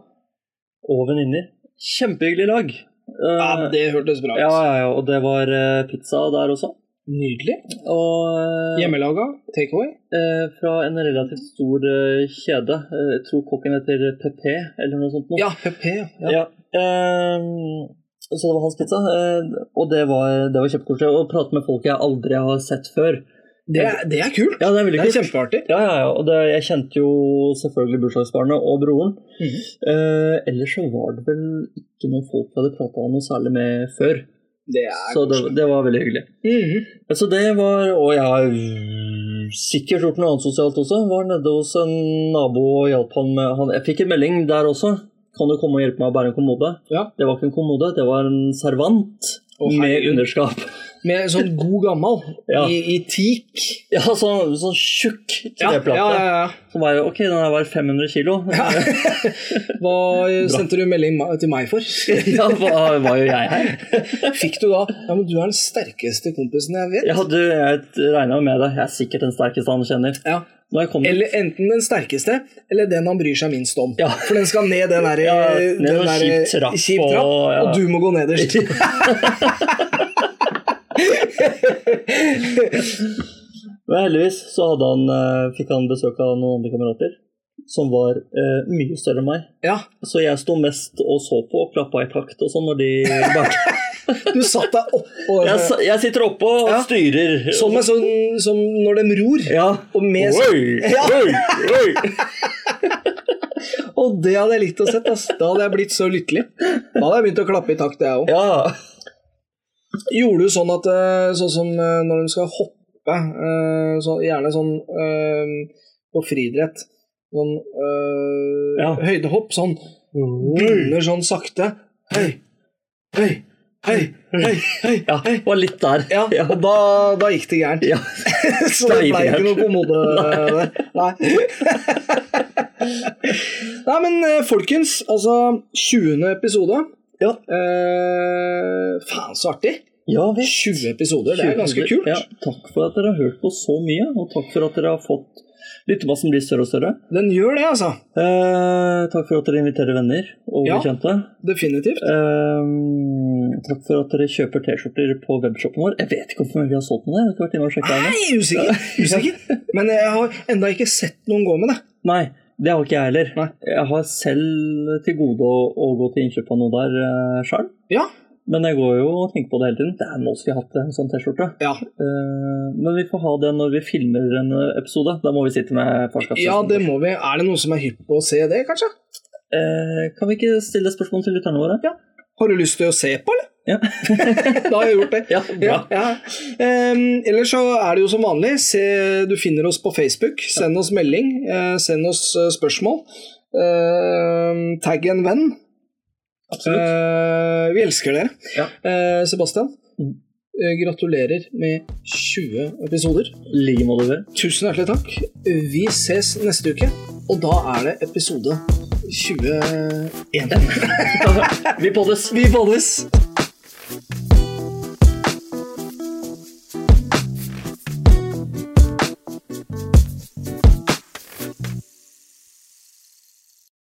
og venninner. Kjempehyggelig lag. Eh,
Ja, men det hørtes bra ut.
ja, ja, ja, og det var eh, pizza der også.
Nydelig.
Og eh,
Hjemmelaga, take away.
eh, fra en relativt stor eh, kjede. Eh, jeg tror kokken heter PP eller noe sånt. Noe.
Ja, PP. Ja.
Ja. eh, så det var hans pizza, eh, og det var, det var kjempekoselig. Å prate med folk jeg aldri har sett før.
Det, er- det er kult.
Ja, det er veldig
Det er
kult.
kjempeartig.
Ja, ja, ja. Og det, jeg kjente jo selvfølgelig bursdagsbarnet og broren.
Mhm.
Eh, ellers så var det vel ikke noen folk jeg hadde prata noe særlig med før.
Det er
Så det,
koselig.
det var veldig hyggelig.
Mhm.
Så det var Og jeg har mm, sikkert gjort noe annet sosialt også. Var nede hos en nabo og hjalp han med han, Jeg fikk en melding der også. Kan du komme og hjelpe meg å bære en kommode?
Ja.
Det var ikke en kommode, det var en servant
Å,
med
herregud.
underskap.
Med sånn god gammel
Ja.
i, i teak.
Ja, sånn, sånn tjukk
Ja, ja,
treplate.
ja, ja.
Som var ok, den her var 500 kilo.
Hva sendte du melding ma- til meg for?
ja, hva hva gjør jeg her?
Fikk du da Ja, men du er den sterkeste kompisen jeg vet.
Jeg hadde regna med det. Jeg er sikkert den sterkeste han kjenner.
Ja.
Når jeg kom
Eller enten den sterkeste, eller den han bryr seg minst om.
Ja.
For den skal ned den der,
Ja,
den
ned noen
der
kjip trapp
kjip
og-
trapp, og,
ja.
du må gå nederst.
Men heldigvis så hadde han, eh, fikk han besøk av noen andre kamerater som var eh, mye større enn meg.
Ja,
Så jeg sto mest og så på og klappa i takt og sånn når de bakte.
du satt deg oppå
Jeg, s- jeg sitter oppe og
Ja.
styrer.
Som, en sånn, som når de ror.
ja.
Og, med, sånn-
Oi,
Ja.
oi, oi.
og det hadde jeg likt å sett. Ass. Da hadde jeg blitt så lykkelig. Da hadde jeg begynt å klappe i takt, jeg òg.
Ja.
Gjorde du sånn at eh, Sånn som eh, når de skal hoppe, eh, så, gjerne sånn eh, på friidrett Sånn eh,
Ja. Mm.
høydehopp, sånn begynner sånn sakte Hei, hei, hei, hei, hei.
ja. Var litt der.
Ja,
Ja.
og da, da gikk det gærent.
Ja.
Så det
Da gikk
ble
det
ikke noe kommode der. Nei. Nei, men eh, folkens, altså 20. episode.
Ja.
Eh, faen, så artig.
Ja, vi
20 episoder, det er ganske kult.
Ja, takk for at dere har hørt på så mye, og takk for at dere har fått lyttemassen blir større og større.
Den gjør det, altså.
Eh, takk for at dere inviterer venner og
Ja.
bekjente.
Definitivt.
Eh, takk for at dere kjøper T-skjorter på webshopen vår. Jeg vet ikke hvorfor vi har solgt noe. Jeg har ikke vært inne og sjekket ennå.
Nei, usikker. usikker. Men jeg har enda ikke sett noen gå med det.
Nei, det har ikke jeg heller.
Nei.
Jeg har selv til gode å, å gå til innkjøp av noe der uh, sjøl.
Ja.
Men jeg går jo og tenker på det hele tiden. Det er nå skulle jeg hatt en sånn T-skjorte.
Ja,
Eh, men vi får ha det når vi filmer en episode. Da må vi sitte med farskapsresten.
ja det må vi. Er det noen som er hypp på å se det, kanskje?
Eh, kan vi ikke stille spørsmål til lytterne våre? Ja.
Har du lyst til å se på, eller?
Ja.
da har jeg gjort det.
Ja, bra.
Ja, ja. Ehm, ellers så er det jo som vanlig, se, du finner oss på Facebook, send oss melding, eh, send oss eh, spørsmål. Ehm, tagg en venn. Mm.
Absolutt.
Eh, vi elsker dere.
Ja.
Eh, Sebastian,
Mm.
eh, gratulerer med 20 episoder.
I like måte, dere.
Tusen hjertelig takk. Vi ses neste uke, og da er det episode 21.
Vi poddes.
Vi bolles!